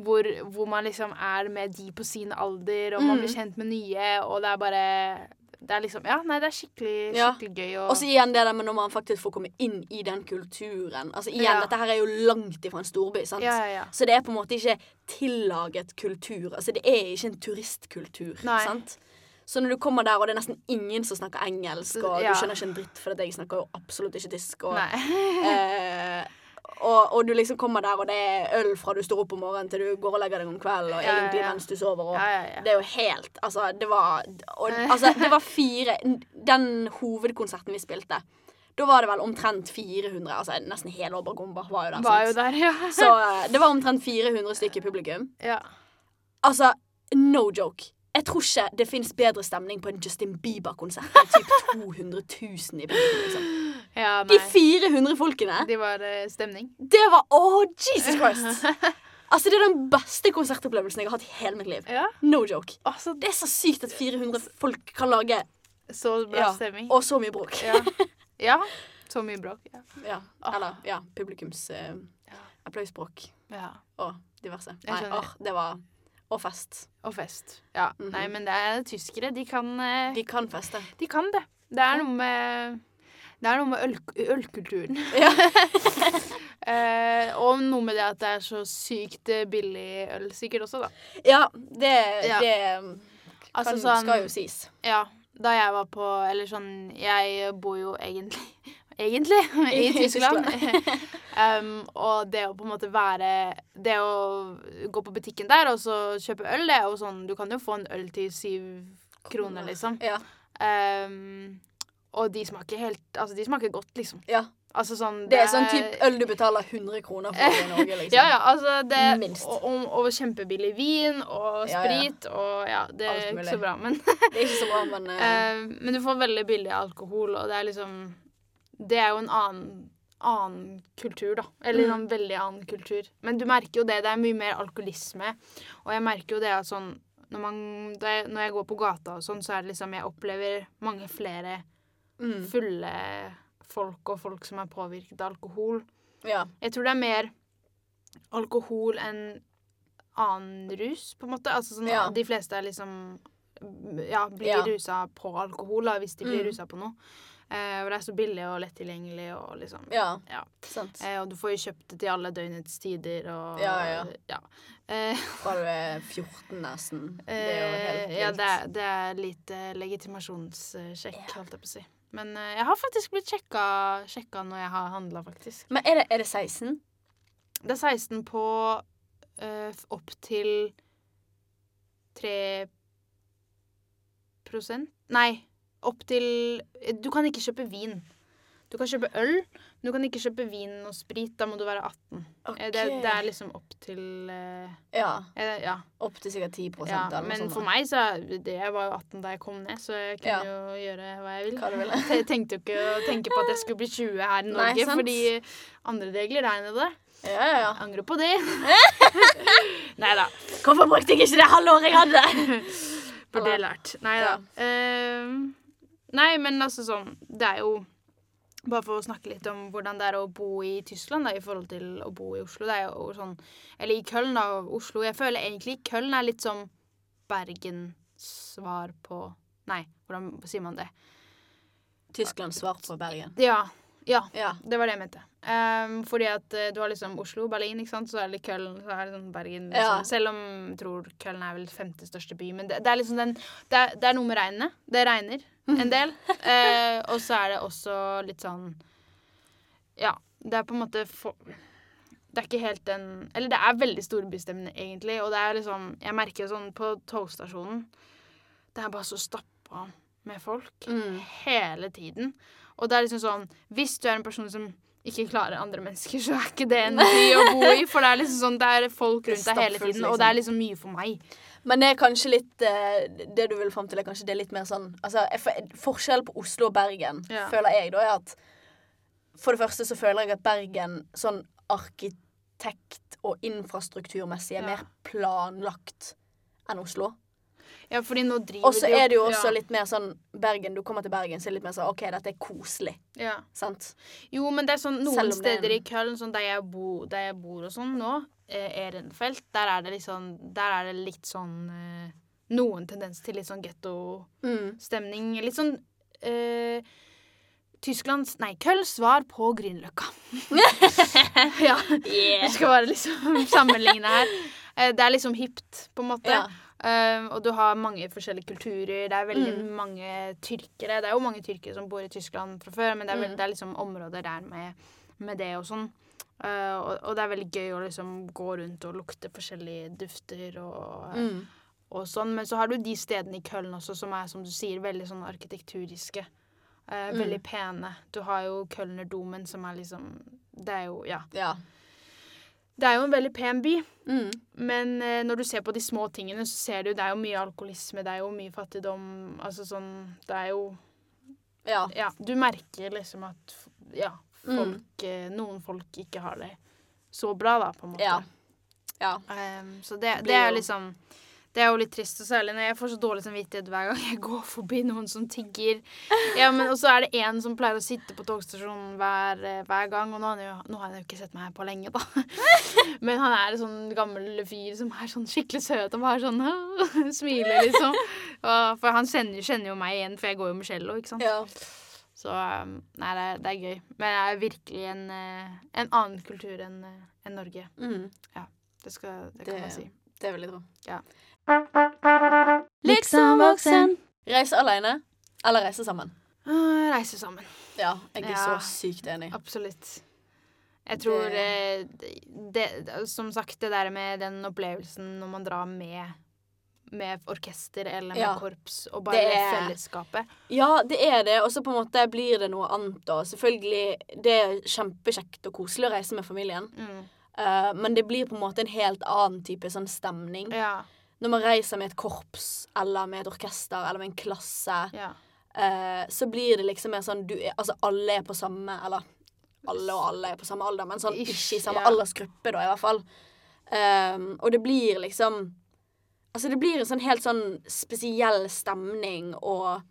Speaker 1: hvor, hvor man liksom er med de på sin alder, og man
Speaker 2: Mm.
Speaker 1: blir kjent med nye, og det er bare Det er liksom Ja, nei, det er skikkelig,
Speaker 2: Ja.
Speaker 1: skikkelig gøy å
Speaker 2: Og så igjen det der med når man faktisk får komme inn i den kulturen. Altså igjen,
Speaker 1: Ja.
Speaker 2: Dette her er jo langt ifra en storby. sant?
Speaker 1: Ja, ja, ja.
Speaker 2: Så det er på en måte ikke tillaget kultur. Altså Det er ikke en turistkultur.
Speaker 1: Nei.
Speaker 2: sant? Så når du kommer der, og det er nesten ingen som snakker engelsk, og
Speaker 1: Ja.
Speaker 2: du skjønner ikke en dritt, for at jeg snakker jo absolutt ikke tysk og
Speaker 1: Nei.
Speaker 2: Eh, og, og du liksom kommer der, og det er øl fra du står opp om morgenen til du går og legger deg om kvelden, og
Speaker 1: Ja, ja,
Speaker 2: egentlig
Speaker 1: ja.
Speaker 2: mens du sover. Og
Speaker 1: Ja, ja, ja.
Speaker 2: Det er jo helt Altså, det var og, altså, Det var fire Den hovedkonserten vi spilte, da var det vel omtrent 400 Altså nesten hele Obergomba var jo der.
Speaker 1: Var
Speaker 2: sant?
Speaker 1: jo der, ja.
Speaker 2: Så eh, det var omtrent 400 stykker i publikum.
Speaker 1: ja.
Speaker 2: Altså, no joke. Jeg tror ikke det fins bedre stemning på en Justin Bieber-konsert med typ 200 000 i publikum. Liksom.
Speaker 1: ja nei.
Speaker 2: De 400 folkene
Speaker 1: De var eh, stemning.
Speaker 2: det var Å, Jesus Christ! Altså, Det er den beste konsertopplevelsen jeg har hatt i hele mitt liv.
Speaker 1: Ja.
Speaker 2: No joke.
Speaker 1: Altså,
Speaker 2: Det er så sykt at 400 folk kan lage
Speaker 1: så bra
Speaker 2: ja,
Speaker 1: stemning.
Speaker 2: og så mye bråk.
Speaker 1: Ja. ja. Så mye bråk. Ja.
Speaker 2: Ja. Eller ja, publikums eh, applausbråk
Speaker 1: ja.
Speaker 2: og diverse.
Speaker 1: Jeg
Speaker 2: Nei,
Speaker 1: skjønner.
Speaker 2: åh, det var Og fest.
Speaker 1: Og fest. Ja.
Speaker 2: Mhm.
Speaker 1: Nei, men det er tyskere. De kan, eh,
Speaker 2: De kan feste.
Speaker 1: de kan det. Det er noe med det er noe med øl, ølkulturen.
Speaker 2: Ja.
Speaker 1: eh, og noe med det at det er så sykt eh, billig øl sikkert også, da.
Speaker 2: Ja, det,
Speaker 1: Ja.
Speaker 2: det kan,
Speaker 1: Altså sånn
Speaker 2: skal jo sies.
Speaker 1: Ja. Da jeg var på Eller sånn Jeg bor jo egentlig Egentlig i
Speaker 2: I
Speaker 1: Tyskland. um, og det å på en måte være Det å gå på butikken der og så kjøpe øl, det er jo sånn Du kan jo få en øl til syv kroner, liksom.
Speaker 2: Ja.
Speaker 1: Um, og de smaker helt Altså, de smaker godt, liksom.
Speaker 2: ja.
Speaker 1: Altså sånn
Speaker 2: Det er sånn type øl du betaler 100 kroner for i Norge, liksom.
Speaker 1: Ja, ja, altså det
Speaker 2: Minst.
Speaker 1: Og, og, og kjempebillig vin og
Speaker 2: Ja, ja.
Speaker 1: sprit og ja Det
Speaker 2: Alt
Speaker 1: er ikke
Speaker 2: mulig.
Speaker 1: så bra, men
Speaker 2: Det er ikke så bra, men eh,
Speaker 1: Eh, men du får veldig billig alkohol, og det er liksom Det er jo en annen, annen kultur, da. Eller en veldig annen kultur. Men du merker jo det. Det er mye mer alkoholisme. Og jeg merker jo det at sånn når, man, da jeg, når jeg går på gata og sånn, så er det liksom Jeg opplever mange flere
Speaker 2: mm,
Speaker 1: fulle folk og folk som er påvirket av alkohol.
Speaker 2: Ja.
Speaker 1: Jeg tror det er mer alkohol enn annen rus, på en måte. Altså sånn,
Speaker 2: Ja.
Speaker 1: De fleste er liksom ja, blir
Speaker 2: Ja.
Speaker 1: rusa på alkohol, da, hvis de blir
Speaker 2: Mm.
Speaker 1: rusa på noe. Eh, og det er så billig og lett tilgjengelig og liksom
Speaker 2: Ja.
Speaker 1: Ja.
Speaker 2: Sant.
Speaker 1: Eh, og du får jo kjøpt det til alle døgnets tider og
Speaker 2: Ja, ja, ja.
Speaker 1: Eh,
Speaker 2: Fra du er 14, nesten. Det er jo helt
Speaker 1: eh,
Speaker 2: vilt.
Speaker 1: ja, det er, det er lite legitimasjonssjekk, holdt jeg på å si. Men eh, jeg har faktisk blitt sjekka, sjekka når jeg har handla, faktisk.
Speaker 2: Men er det, er det 16?
Speaker 1: Det er 16 på eh, f- opp til 3 prosent. Nei, opp til eh, Du kan ikke kjøpe vin. Du kan kjøpe øl, men du kan ikke kjøpe vin og sprit. Da må du være 18. Eh, Det, det er liksom opp til eh,
Speaker 2: Ja.
Speaker 1: eh, Ja.
Speaker 2: Opp til sikkert 10
Speaker 1: ja.
Speaker 2: eller noe
Speaker 1: Men
Speaker 2: sånt.
Speaker 1: for meg så er det, Jeg var jo 18 da jeg kom ned, så jeg kunne
Speaker 2: sånn, Ja.
Speaker 1: jo gjøre hva jeg vil.
Speaker 2: Hva du ville.
Speaker 1: Jeg tenkte jo ikke å tenke på at jeg skulle bli 20 her i
Speaker 2: Nei,
Speaker 1: Norge,
Speaker 2: sant.
Speaker 1: fordi andre regler der nede
Speaker 2: Ja, ja, ja.
Speaker 1: Angrer på det. Nei da.
Speaker 2: Hvorfor brukte jeg ikke det halvåret jeg hadde?
Speaker 1: Burde jeg lært. Nei da.
Speaker 2: Ja.
Speaker 1: nei, men altså sånn Det er jo Bare for å snakke litt om hvordan det er å bo i Tyskland da, i forhold til å bo i Oslo. Det er jo sånn Eller i Køln, da. og Oslo. Jeg føler egentlig Køln er litt som Bergens svar på Nei, hvordan sier man det?
Speaker 2: Tyskland svart på Bergen.
Speaker 1: Ja. Ja,
Speaker 2: Ja.
Speaker 1: det var det jeg mente. Ehm, fordi at eh, du har liksom Oslo, Berlin, ikke sant? så er det litt Køln, så er det sånn Bergen. Liksom.
Speaker 2: Ja.
Speaker 1: Selv om jeg tror Køln er vel femte største by. Men det, det er liksom den det er, det er noe med regnet. Det regner en del. Eh, og så er det også litt sånn Ja. Det er på en måte for, Det er ikke helt den Eller det er veldig storbystemmende, egentlig. Og det er liksom Jeg merker jo sånn på togstasjonen Det er bare så stappa med folk
Speaker 2: Mm.
Speaker 1: hele tiden. Og det er liksom sånn Hvis du er en person som ikke klarer andre mennesker, så er ikke det en by å bo i. For det er liksom sånn Det er folk
Speaker 2: Det er
Speaker 1: rundt deg hele
Speaker 2: stappfullt,
Speaker 1: tiden, og det er liksom mye for meg.
Speaker 2: Men det er kanskje litt eh, Det du vil fram til, er kanskje det er litt mer sånn altså, jeg f- Forskjellen på Oslo og Bergen
Speaker 1: Ja.
Speaker 2: føler jeg da er at For det første så føler jeg at Bergen sånn arkitekt- og infrastrukturmessig er
Speaker 1: Ja.
Speaker 2: mer planlagt enn Oslo.
Speaker 1: Ja, fordi nå driver
Speaker 2: Og så er det jo også
Speaker 1: ja,
Speaker 2: litt mer sånn Bergen, Du kommer til Bergen, så er det litt mer sånn OK, dette er koselig.
Speaker 1: ja.
Speaker 2: Sant?
Speaker 1: Jo, men det er sånn
Speaker 2: Selv
Speaker 1: noen
Speaker 2: om det er
Speaker 1: steder i
Speaker 2: en-
Speaker 1: Köln, sånn der jeg, bo, der jeg bor og sånn nå, eh, Ehrenfeld, der er det liksom Der er det litt sånn eh, Noen tendens til litt sånn gettostemning.
Speaker 2: Mm.
Speaker 1: Litt sånn eh, Tysklands Nei, Kölns svar på Grünerløkka. ja. Vi skal bare liksom sammenligne her. Eh, Det er liksom hipt, på en måte.
Speaker 2: Ja.
Speaker 1: Eh, og du har mange forskjellige kulturer. Det er veldig
Speaker 2: Mm.
Speaker 1: mange tyrkere. Det er jo mange tyrkere som bor i Tyskland fra før, men det er, vel-
Speaker 2: Mm.
Speaker 1: det er liksom områder der med, med det og sånn. Eh, og, og det er veldig gøy å liksom gå rundt og lukte forskjellige dufter og,
Speaker 2: Mm.
Speaker 1: og sånn. Men så har du de stedene i Køln også som er, som du sier, veldig sånn arkitekturiske. Eh,
Speaker 2: Mm.
Speaker 1: Veldig pene. Du har jo Kølnerdomen som er liksom Det er jo Ja.
Speaker 2: Ja.
Speaker 1: Det er jo en veldig pen by,
Speaker 2: Mm.
Speaker 1: men eh, når du ser på de små tingene, så ser du det er jo mye alkoholisme, det er jo mye fattigdom. Altså sånn Det er jo
Speaker 2: Ja.
Speaker 1: Ja, du merker liksom at f- Ja,
Speaker 2: Mm.
Speaker 1: folk eh, Noen folk ikke har det så bra, da, på en måte.
Speaker 2: Ja. ja.
Speaker 1: Ehm, så det,
Speaker 2: Blir
Speaker 1: det er
Speaker 2: jo-
Speaker 1: jo liksom Det er jo litt trist, og særlig når jeg får så dårlig samvittighet hver gang jeg går forbi noen som tigger. Ja, men Og så er det én som pleier å sitte på togstasjonen hver, eh, hver gang, og nå har, han jo, nå har han jo ikke sett meg her på lenge, da. Men han er en sånn gammel fyr som er sånn skikkelig søt og bare sånn smiler, liksom. Og, for han kjenner, kjenner jo meg igjen, for jeg går jo med cello, ikke sant.
Speaker 2: ja.
Speaker 1: Så um, nei, det, er- det er gøy. Men det er virkelig en, eh, en annen kultur enn eh, enn Norge.
Speaker 2: Mm.
Speaker 1: Det, skal, det kan
Speaker 2: Det-
Speaker 1: man si.
Speaker 2: Det er veldig bra.
Speaker 1: Ja.
Speaker 2: Liksom voksen. Reise alene eller reise sammen.
Speaker 1: Eh, Reise sammen.
Speaker 2: Ja, jeg er
Speaker 1: Ja.
Speaker 2: så sykt enig.
Speaker 1: Absolutt. Jeg tror
Speaker 2: Det-
Speaker 1: eh, det, det, Som sagt, det der med den opplevelsen når man drar med med orkester eller med
Speaker 2: Ja.
Speaker 1: korps, og bare
Speaker 2: Det er-
Speaker 1: fellesskapet.
Speaker 2: Ja, det er det, og så på en måte blir det noe annet. Og selvfølgelig, det er kjempekjekt og koselig å reise med familien,
Speaker 1: Mm.
Speaker 2: eh, men det blir på en måte en helt annen type sånn stemning.
Speaker 1: Ja,
Speaker 2: Når man reiser med et korps, eller med et orkester, eller med en klasse,
Speaker 1: ja.
Speaker 2: eh, så blir det liksom mer sånn du er, Altså, alle er på samme Eller alle og alle er på samme alder, men sånn
Speaker 1: Ish,
Speaker 2: ikke i samme
Speaker 1: ja.
Speaker 2: aldersgruppe, da, i hvert fall. Ehm, og det blir liksom Altså, det blir en sånn helt sånn spesiell stemning og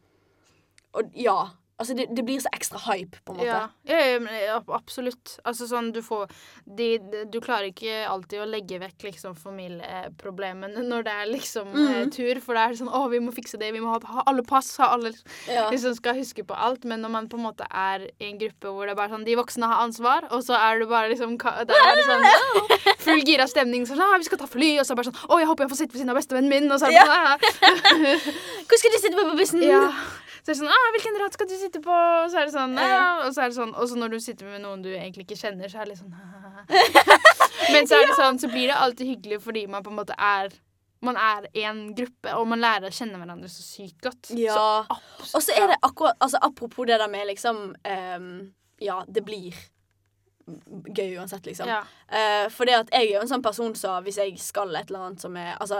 Speaker 2: Og ja. Altså, det, det blir så ekstra hype, på en måte.
Speaker 1: Ja, ja, ja, men, ja, absolutt. Altså sånn, du får de, de, Du klarer ikke alltid å legge vekk liksom familieproblemene når det er liksom
Speaker 2: Mm.
Speaker 1: eh, tur, for det er sånn 'Å, vi må fikse det, vi må ha, ha alle pass', ha alle
Speaker 2: Ja.
Speaker 1: liksom skal huske på alt, men når man på en måte er i en gruppe hvor det er bare sånn De voksne har ansvar, og så er du bare liksom ka- Der er det sånn full gira stemning. Sånn, «Ah, vi skal ta fly, og så er det bare sånn Å, jeg håper jeg får sitte ved siden av bestevennen min, og så er det bare sånn,
Speaker 2: Hvor skal de sitte på på bussen?
Speaker 1: «Ah, ja. Så er det sånn «Ah, hvilken rad skal du sitte på? Og så er det sånn «Ah», Og så er det sånn Og så når du sitter med noen du egentlig ikke kjenner, så er det litt sånn «Ah». Men så er det sånn, så blir det alltid hyggelig fordi man på en måte er man er en gruppe, og man lærer å kjenne hverandre så sykt godt.
Speaker 2: Ja.
Speaker 1: Så absolutt.
Speaker 2: Og så er det akkurat altså, Apropos det der med liksom ehm, Ja, det blir gøy uansett, liksom.
Speaker 1: ja.
Speaker 2: Eh, for det at jeg er jo en sånn person som hvis jeg skal et eller annet som er Altså,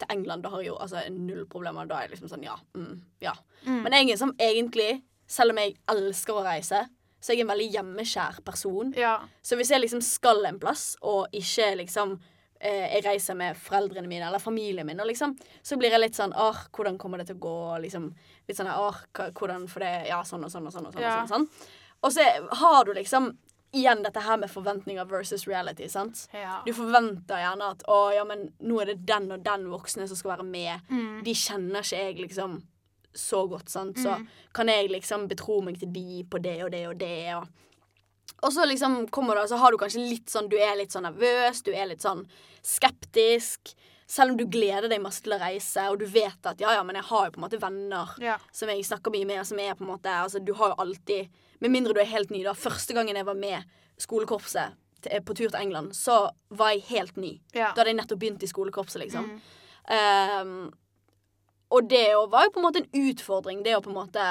Speaker 2: til England da har jeg jo altså, null problemer. Da er jeg liksom sånn ja. Mm, ja.
Speaker 1: Mm.
Speaker 2: Men jeg er som egentlig, selv om jeg elsker å reise, så er jeg en veldig hjemmeskjær person.
Speaker 1: ja.
Speaker 2: Så hvis jeg liksom skal en plass, og ikke liksom eh, jeg reiser med foreldrene mine eller familien min, og liksom, så blir jeg litt sånn Åh, hvordan kommer det til å gå? Og Liksom, litt sånn Åh, hva- hvordan For det Ja, sånn og sånn og sånn og sånn.
Speaker 1: Ja.
Speaker 2: Og, sånn, og, sånn. og så har du liksom igjen dette her med forventninger versus reality, sant?
Speaker 1: Ja.
Speaker 2: Du forventer gjerne at å, ja, men nå er det den og den voksne som skal være med.
Speaker 1: Mm.
Speaker 2: De kjenner ikke jeg liksom så godt, sant. Så
Speaker 1: Mm.
Speaker 2: kan jeg liksom betro meg til de på det og det og det, og Og så liksom kommer det, så har du kanskje litt sånn Du er litt sånn nervøs, du er litt sånn skeptisk. Selv om du gleder deg masse til å reise, og du vet at ja, ja, men jeg har jo på en måte venner
Speaker 1: Ja.
Speaker 2: som jeg snakker mye med, og som er på en måte Altså, du har jo alltid Med mindre du er helt ny, da. Første gangen jeg var med skolekorpset til- eh, på tur til England, så var jeg helt ny.
Speaker 1: Ja. Mm.
Speaker 2: Da hadde jeg nettopp begynt i skolekorpset, liksom. Ehm, og det jo var jo på en måte en utfordring, det å på en måte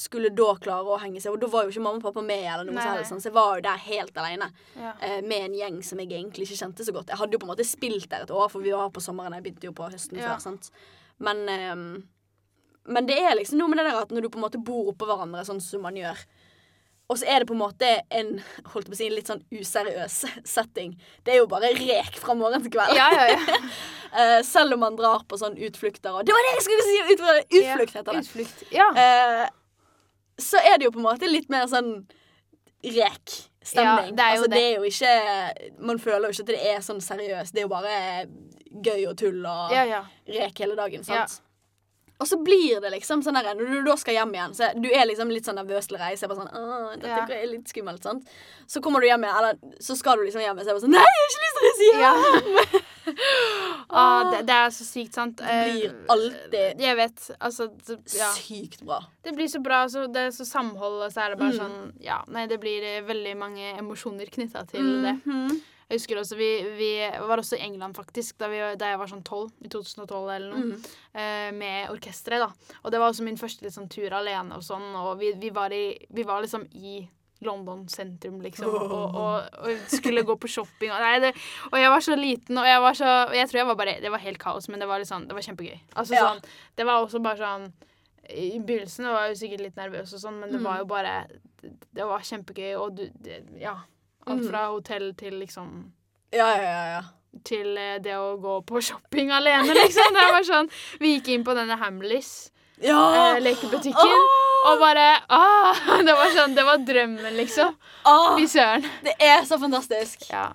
Speaker 2: skulle da klare å henge seg Og da var jo ikke mamma og pappa med, eller noe
Speaker 1: Nei,
Speaker 2: så
Speaker 1: nei.
Speaker 2: helst, sånn, så jeg var jo der helt alene
Speaker 1: Ja.
Speaker 2: eh, med en gjeng som jeg egentlig ikke kjente så godt. Jeg hadde jo på en måte spilt der et år, for vi var på sommeren. Jeg begynte jo på høsten
Speaker 1: Ja.
Speaker 2: før. sant? Men, ehm, men det er liksom noe med det der at når du på en måte bor oppå hverandre, sånn som man gjør og så er det på en måte en holdt jeg på å si, en litt sånn useriøs setting. Det er jo bare rek fra morgen til kveld.
Speaker 1: ja, ja, ja.
Speaker 2: Eh, selv om man drar på sånn utflukter og Det var det jeg skulle si! Utflukt, utflukt heter det.
Speaker 1: Utflukt. Ja.
Speaker 2: Eh, så er det jo på en måte litt mer sånn rek stemning.
Speaker 1: Ja, det er jo
Speaker 2: altså,
Speaker 1: det.
Speaker 2: det er jo ikke Man føler jo ikke at det er sånn seriøst. Det er jo bare gøy og tull og
Speaker 1: ja, ja.
Speaker 2: rek hele dagen, sant? Og så blir det liksom sånn der, Når du da skal hjem igjen, så er- du er liksom litt sånn nervøs til å reise. Bare sånn, Åh, dette
Speaker 1: Ja.
Speaker 2: er litt skummelt, sant? Så kommer du hjem igjen, eller så skal du liksom hjem igjen, så er det bare sånn Nei, jeg har ikke lyst til å reise hjem!
Speaker 1: ja. Ah, det, det er så sykt, sant? Eh,
Speaker 2: Det blir alltid
Speaker 1: Jeg vet. Altså, det, ja.
Speaker 2: sykt bra.
Speaker 1: Det blir så bra. Så det er så samhold, og så er det bare
Speaker 2: Mm.
Speaker 1: sånn Ja, nei, det blir eh, veldig mange emosjoner knytta til det.
Speaker 2: Mhm.
Speaker 1: Jeg husker også, vi, vi var også i England, faktisk, da, vi, da jeg var sånn 12, i 2012 eller noe,
Speaker 2: Mhm.
Speaker 1: eh, med orkesteret, da. Og det var også min første litt sånn, tur alene og sånn, og vi, vi, var, i, vi var liksom i London sentrum, liksom, og, og, og skulle gå på shopping. Og, nei, det, og jeg var så liten, og jeg var så og Jeg tror jeg var bare Det var helt kaos, men det var, litt sånn, det var kjempegøy. Altså
Speaker 2: Ja.
Speaker 1: sånn Det var også bare sånn I begynnelsen var jeg jo sikkert litt nervøs og sånn, men det
Speaker 2: Mm.
Speaker 1: var jo bare Det, det var kjempegøy, og du det, Ja. Alt
Speaker 2: Mm.
Speaker 1: fra hotell til liksom
Speaker 2: Ja, ja, ja. ja.
Speaker 1: til eh, det å gå på shopping alene, liksom. Det var sånn, vi gikk inn på denne Hamleys
Speaker 2: Ja!
Speaker 1: eh, lekebutikken, og bare ah, Det var sånn, det var drømmen, liksom.
Speaker 2: Åh,
Speaker 1: Fy søren.
Speaker 2: det er så fantastisk.
Speaker 1: Ja,
Speaker 2: Ah!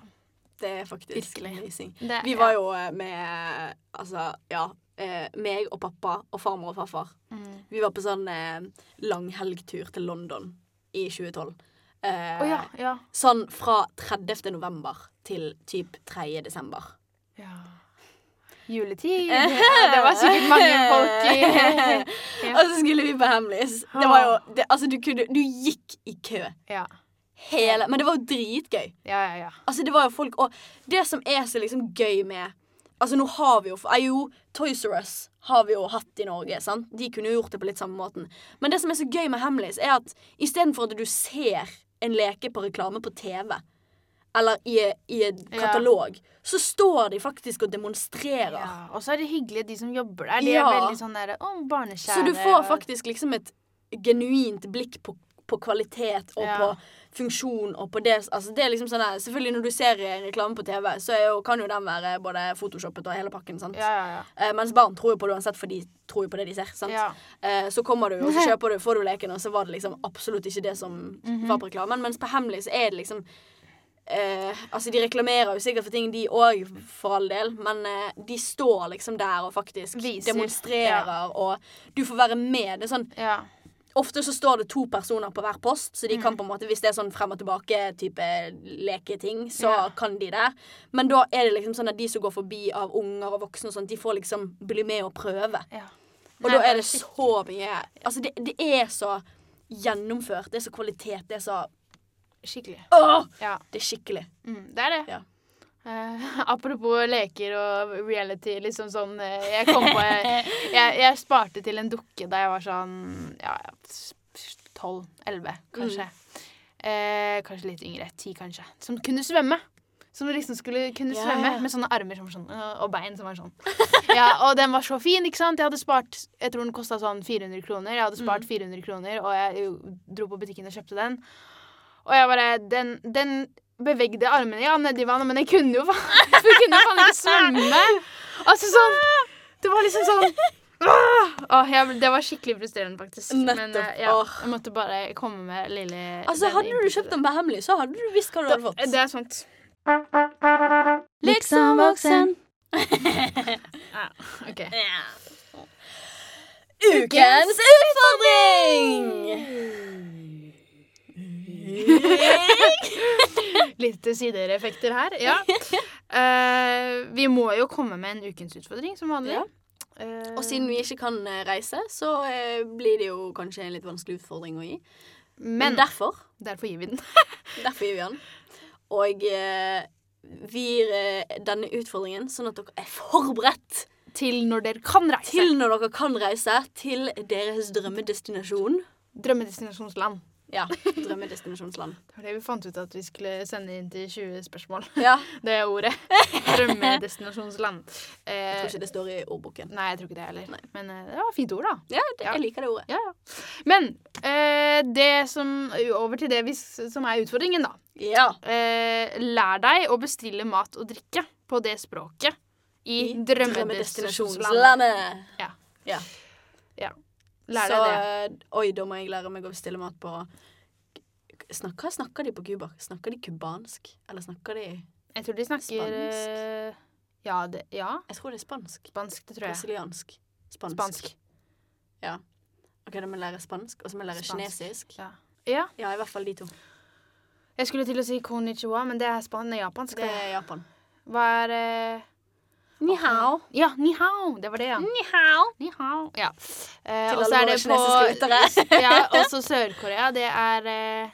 Speaker 2: Det er faktisk
Speaker 1: Virkelig.
Speaker 2: amazing.
Speaker 1: det,
Speaker 2: Vi var jo eh, med Altså, ja. eh, Meg og pappa og farmor og farfar.
Speaker 1: Mm.
Speaker 2: Vi var på sånn eh, langhelgtur til London i 2012. Eh,
Speaker 1: Å ja, ja.
Speaker 2: Sånn fra 30. november til typ 3. desember.
Speaker 1: ja. Juletid. Ja, det var sikkert mange folk i
Speaker 2: Og så skulle vi på Hamleys. Det var jo det, Altså, du kunne Du gikk i kø
Speaker 1: Ja,
Speaker 2: hele Men det var jo dritgøy.
Speaker 1: ja, ja. ja.
Speaker 2: Altså, det var jo folk Og det som er så liksom gøy med Altså, nå har vi jo eh, Jo, Toys R Us har vi jo hatt i Norge, sant? De kunne jo gjort det på litt samme måten. Men det som er så gøy med Hamleys, er at istedenfor at du ser en leke på reklame på TV, eller i, i en
Speaker 1: Ja.
Speaker 2: katalog, så står de faktisk og demonstrerer.
Speaker 1: ja. Og så er det hyggelig de som jobber der. De er
Speaker 2: Ja.
Speaker 1: veldig sånn der Å, barnekjære.
Speaker 2: Så du får
Speaker 1: og-
Speaker 2: faktisk liksom et genuint blikk på, på kvalitet og
Speaker 1: Ja.
Speaker 2: på funksjon og på det Altså det er liksom sånn der Selvfølgelig når du ser eh, reklame på TV, så er jo, kan jo den være både photoshoppet og hele pakken, sant.
Speaker 1: Ja, ja,
Speaker 2: Eh, mens barn tror jo på det uansett, for de tror jo på det de ser.
Speaker 1: ja.
Speaker 2: sant?
Speaker 1: ja.
Speaker 2: Eh, så kommer du, og så kjøper du, får du leken, og så var det liksom absolutt ikke det som
Speaker 1: Mhm.
Speaker 2: var på reklamen. Mens på Hemmelig så er det liksom eh, Altså, de reklamerer jo sikkert for ting, de òg, for all del, men eh, de står liksom der og faktisk
Speaker 1: Viser,
Speaker 2: demonstrerer, og du får være med. Det er sånn
Speaker 1: ja.
Speaker 2: Ofte så står det to personer på hver post, så de
Speaker 1: Mhm.
Speaker 2: kan på en måte, hvis det er sånn frem og tilbake-type leketing, så
Speaker 1: Ja.
Speaker 2: kan de det. Men da er det liksom sånn at de som går forbi av unger og voksne og sånt, de får liksom bli med og prøve.
Speaker 1: ja.
Speaker 2: Og
Speaker 1: Nei,
Speaker 2: da er
Speaker 1: bare
Speaker 2: det så mye Altså, det, det er så gjennomført. Det er så kvalitet. Det er så
Speaker 1: Skikkelig.
Speaker 2: Åh!
Speaker 1: Ja.
Speaker 2: Det er skikkelig.
Speaker 1: Mm, det er det.
Speaker 2: Ja.
Speaker 1: Eh, apropos leker og reality, liksom sånn eh, Jeg kom på jeg, jeg, jeg sparte til en dukke da jeg var sånn ja, 12-11, kanskje.
Speaker 2: Mm.
Speaker 1: Eh, kanskje litt yngre. 10, kanskje. Som kunne svømme. Som liksom skulle kunne
Speaker 2: Ja,
Speaker 1: svømme
Speaker 2: ja.
Speaker 1: med sånne armer som var sånn, øh, og bein som var sånn. Ja, Og den var så fin, ikke sant? Jeg hadde spart Jeg tror den kosta sånn 400 kroner. Jeg hadde
Speaker 2: Mm.
Speaker 1: spart 400 kroner, og jeg jo, dro på butikken og kjøpte den. Og jeg bare Den, den bevegde armene ja, nedi vannet, men jeg kunne jo faen Jeg kunne jo faen ikke svømme. Altså sånn Det var liksom sånn Åh, jeg, ble- det var skikkelig frustrerende, faktisk. Men
Speaker 2: Nettopp.
Speaker 1: eh, ja,
Speaker 2: Åh.
Speaker 1: jeg måtte bare komme med lille
Speaker 2: Altså,
Speaker 1: den
Speaker 2: hadde du
Speaker 1: impulsen.
Speaker 2: kjøpt den på Hemmelig, så hadde du visst hva du hadde fått.
Speaker 1: Det er sant.
Speaker 2: Liksom voksen.
Speaker 1: OK.
Speaker 2: Ukens utfordring!
Speaker 1: Litt sideeffekter her. Ja. Eh, vi må jo komme med en ukens utfordring, som vanlig.
Speaker 2: Ja.
Speaker 1: Eh,
Speaker 2: Og siden vi ikke kan eh, reise, så eh, blir det jo kanskje en litt vanskelig utfordring å gi. Men
Speaker 1: Men
Speaker 2: derfor,
Speaker 1: derfor gir vi den.
Speaker 2: derfor gir vi den. Og eh, vi gir eh, denne utfordringen sånn at dere er forberedt
Speaker 1: Til når dere kan reise.
Speaker 2: til når dere kan reise til deres drømmedestinasjon.
Speaker 1: drømmedestinasjonsland.
Speaker 2: Ja, drømmedestinasjonsland.
Speaker 1: Det var det vi fant ut at vi skulle sende inn til 20 spørsmål.
Speaker 2: Ja,
Speaker 1: Det er ordet. Drømmedestinasjonsland.
Speaker 2: jeg tror
Speaker 1: Eh,
Speaker 2: ikke det står i ordboken.
Speaker 1: nei, jeg tror ikke det heller.
Speaker 2: Nei.
Speaker 1: Men eh, det var et fint ord, da.
Speaker 2: Ja, det, jeg liker det ordet.
Speaker 1: Ja, ja. Men eh, det som Over til det vi, s- som er utfordringen, da.
Speaker 2: Ja.
Speaker 1: Eh, lær deg å bestille mat og drikke på det språket i, drømmedestinasjonsland.
Speaker 2: Drømmedestinasjonslandet.
Speaker 1: Lær deg det.
Speaker 2: Så, eh, Oi, da må jeg lære meg å bestille mat på Snak- Hva snakker de på Cuba? Snakker de cubansk? Eller snakker de Jeg
Speaker 1: Jeg tror de snakker eh, ja, det, ja,
Speaker 2: tror det er spansk.
Speaker 1: spansk, det tror jeg.
Speaker 2: Brasiliansk. Spansk.
Speaker 1: Spansk.
Speaker 2: Ja. OK, da må jeg lære spansk, og så må jeg lære
Speaker 1: Spansk.
Speaker 2: kinesisk.
Speaker 1: Ja. ja.
Speaker 2: Ja, i hvert fall de to.
Speaker 1: Jeg skulle til å si konnichiwa, men det er span nei, japansk.
Speaker 2: Det
Speaker 1: Det.
Speaker 2: er Japan.
Speaker 1: Hva er eh,
Speaker 2: Ni hao.
Speaker 1: Ja, ni hao. Det var det, ja.
Speaker 2: Ni hao.
Speaker 1: Ni hao. Ja. Eh,
Speaker 2: Til
Speaker 1: og så
Speaker 2: alle våre
Speaker 1: er
Speaker 2: kinesiske
Speaker 1: det på
Speaker 2: lyttere.
Speaker 1: Ja, også Sør-Korea. Det er eh,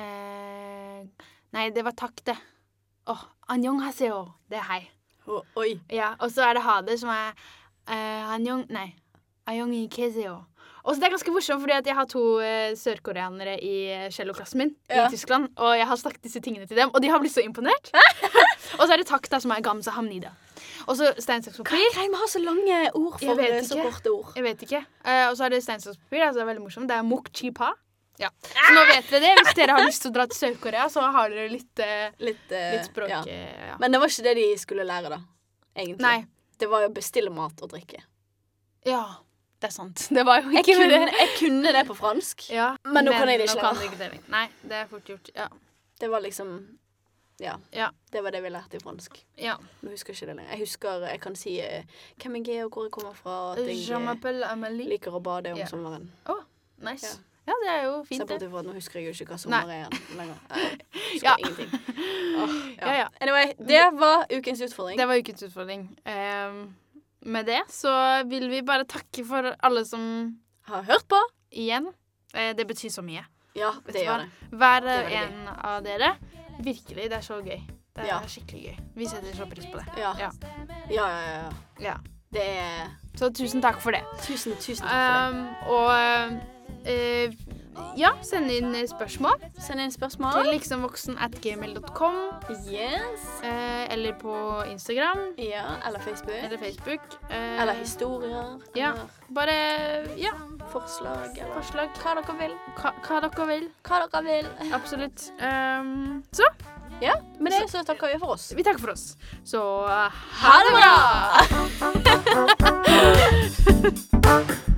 Speaker 1: eh, Nei, det var takk, det. Åh, annyeonghaseyo. Det er hei.
Speaker 2: Å, Oi.
Speaker 1: Ja, og så er det ha det, som er eh, annyeong... Nei. Ayongikeseyo. Og så det er ganske morsomt, fordi at jeg har to eh, sørkoreanere i eh, celloklassen min
Speaker 2: Ja.
Speaker 1: i Tyskland. Og jeg har sagt disse tingene til dem, og de har blitt så imponert. og så er det takk, da, som er gamsa hamnida. Og så stein, saks,
Speaker 2: Hva
Speaker 1: papir.
Speaker 2: er greia med å ha så lange ord
Speaker 1: Jeg
Speaker 2: for
Speaker 1: vet
Speaker 2: eh, så
Speaker 1: ikke.
Speaker 2: korte ord?
Speaker 1: Jeg vet ikke. Eh, og så er det stein, saks, papir. Altså, det er veldig morsomt. Det er mok chi pa. Ja. Så nå vet dere det. Hvis dere har lyst til å dra til Sør-Korea, så har dere litt, eh,
Speaker 2: Litt, eh,
Speaker 1: litt språk.
Speaker 2: ja.
Speaker 1: eh, Ja.
Speaker 2: Men det var ikke det de skulle lære, da. Egentlig.
Speaker 1: Nei.
Speaker 2: Det var jo å bestille mat og drikke.
Speaker 1: Ja, det er sant. Det var jo
Speaker 2: Jeg
Speaker 1: ikke
Speaker 2: kunne,
Speaker 1: det.
Speaker 2: jeg kunne det på fransk.
Speaker 1: Ja.
Speaker 2: Men nå kan jeg det
Speaker 1: nå
Speaker 2: ikke
Speaker 1: kan
Speaker 2: lenger.
Speaker 1: du ikke det lenger. Nei, det er fort gjort. Ja.
Speaker 2: Det var liksom Ja.
Speaker 1: Ja.
Speaker 2: Det var det vi lærte i fransk.
Speaker 1: ja.
Speaker 2: Nå husker jeg ikke det lenger. Jeg husker jeg kan si eh, hvem jeg er, og hvor jeg kommer fra, og at jeg
Speaker 1: Je
Speaker 2: eh,
Speaker 1: m'appelle Amélie.
Speaker 2: liker å bade om
Speaker 1: Ja.
Speaker 2: sommeren.
Speaker 1: Nice. Ja, det er jo
Speaker 2: Se
Speaker 1: fint,
Speaker 2: bort
Speaker 1: det.
Speaker 2: ifra at nå husker jeg jo ikke hva
Speaker 1: Nei.
Speaker 2: sommer er igjen lenger. Jeg husker
Speaker 1: Ja.
Speaker 2: ingenting. Åh, ja.
Speaker 1: Ja, ja.
Speaker 2: Anyway, det var ukens utfordring.
Speaker 1: Det var ukens utfordring. Ehm, med det så vil vi bare takke for alle som
Speaker 2: Har hørt på?
Speaker 1: Igjen. Eh, det betyr så mye.
Speaker 2: Ja, det
Speaker 1: Vet du hva?
Speaker 2: gjør det.
Speaker 1: Hver
Speaker 2: Det er veldig
Speaker 1: en av dere. Virkelig, det er så gøy. Det er
Speaker 2: Ja.
Speaker 1: skikkelig gøy. Vi setter så pris på det.
Speaker 2: Ja.
Speaker 1: Ja.
Speaker 2: Ja, ja, ja. ja.
Speaker 1: Ja.
Speaker 2: Det er
Speaker 1: Så tusen takk for det.
Speaker 2: Tusen, tusen takk for det.
Speaker 1: Um, og eh, ja, send inn spørsmål
Speaker 2: Send inn spørsmål.
Speaker 1: til liksomvoksen at gmail.com.
Speaker 2: Yes.
Speaker 1: eh, eller på Instagram
Speaker 2: Ja, eller Facebook.
Speaker 1: eller Facebook. eh,
Speaker 2: Eller historier.
Speaker 1: Ja.
Speaker 2: Eller
Speaker 1: Bare ja,
Speaker 2: forslag. Eller
Speaker 1: forslag. Hva dere vil. Hva, hva dere vil.
Speaker 2: hva dere vil.
Speaker 1: Absolutt. Um, så
Speaker 2: Ja, Med det så takker vi for oss.
Speaker 1: vi takker for oss. Så
Speaker 2: Ha det bra!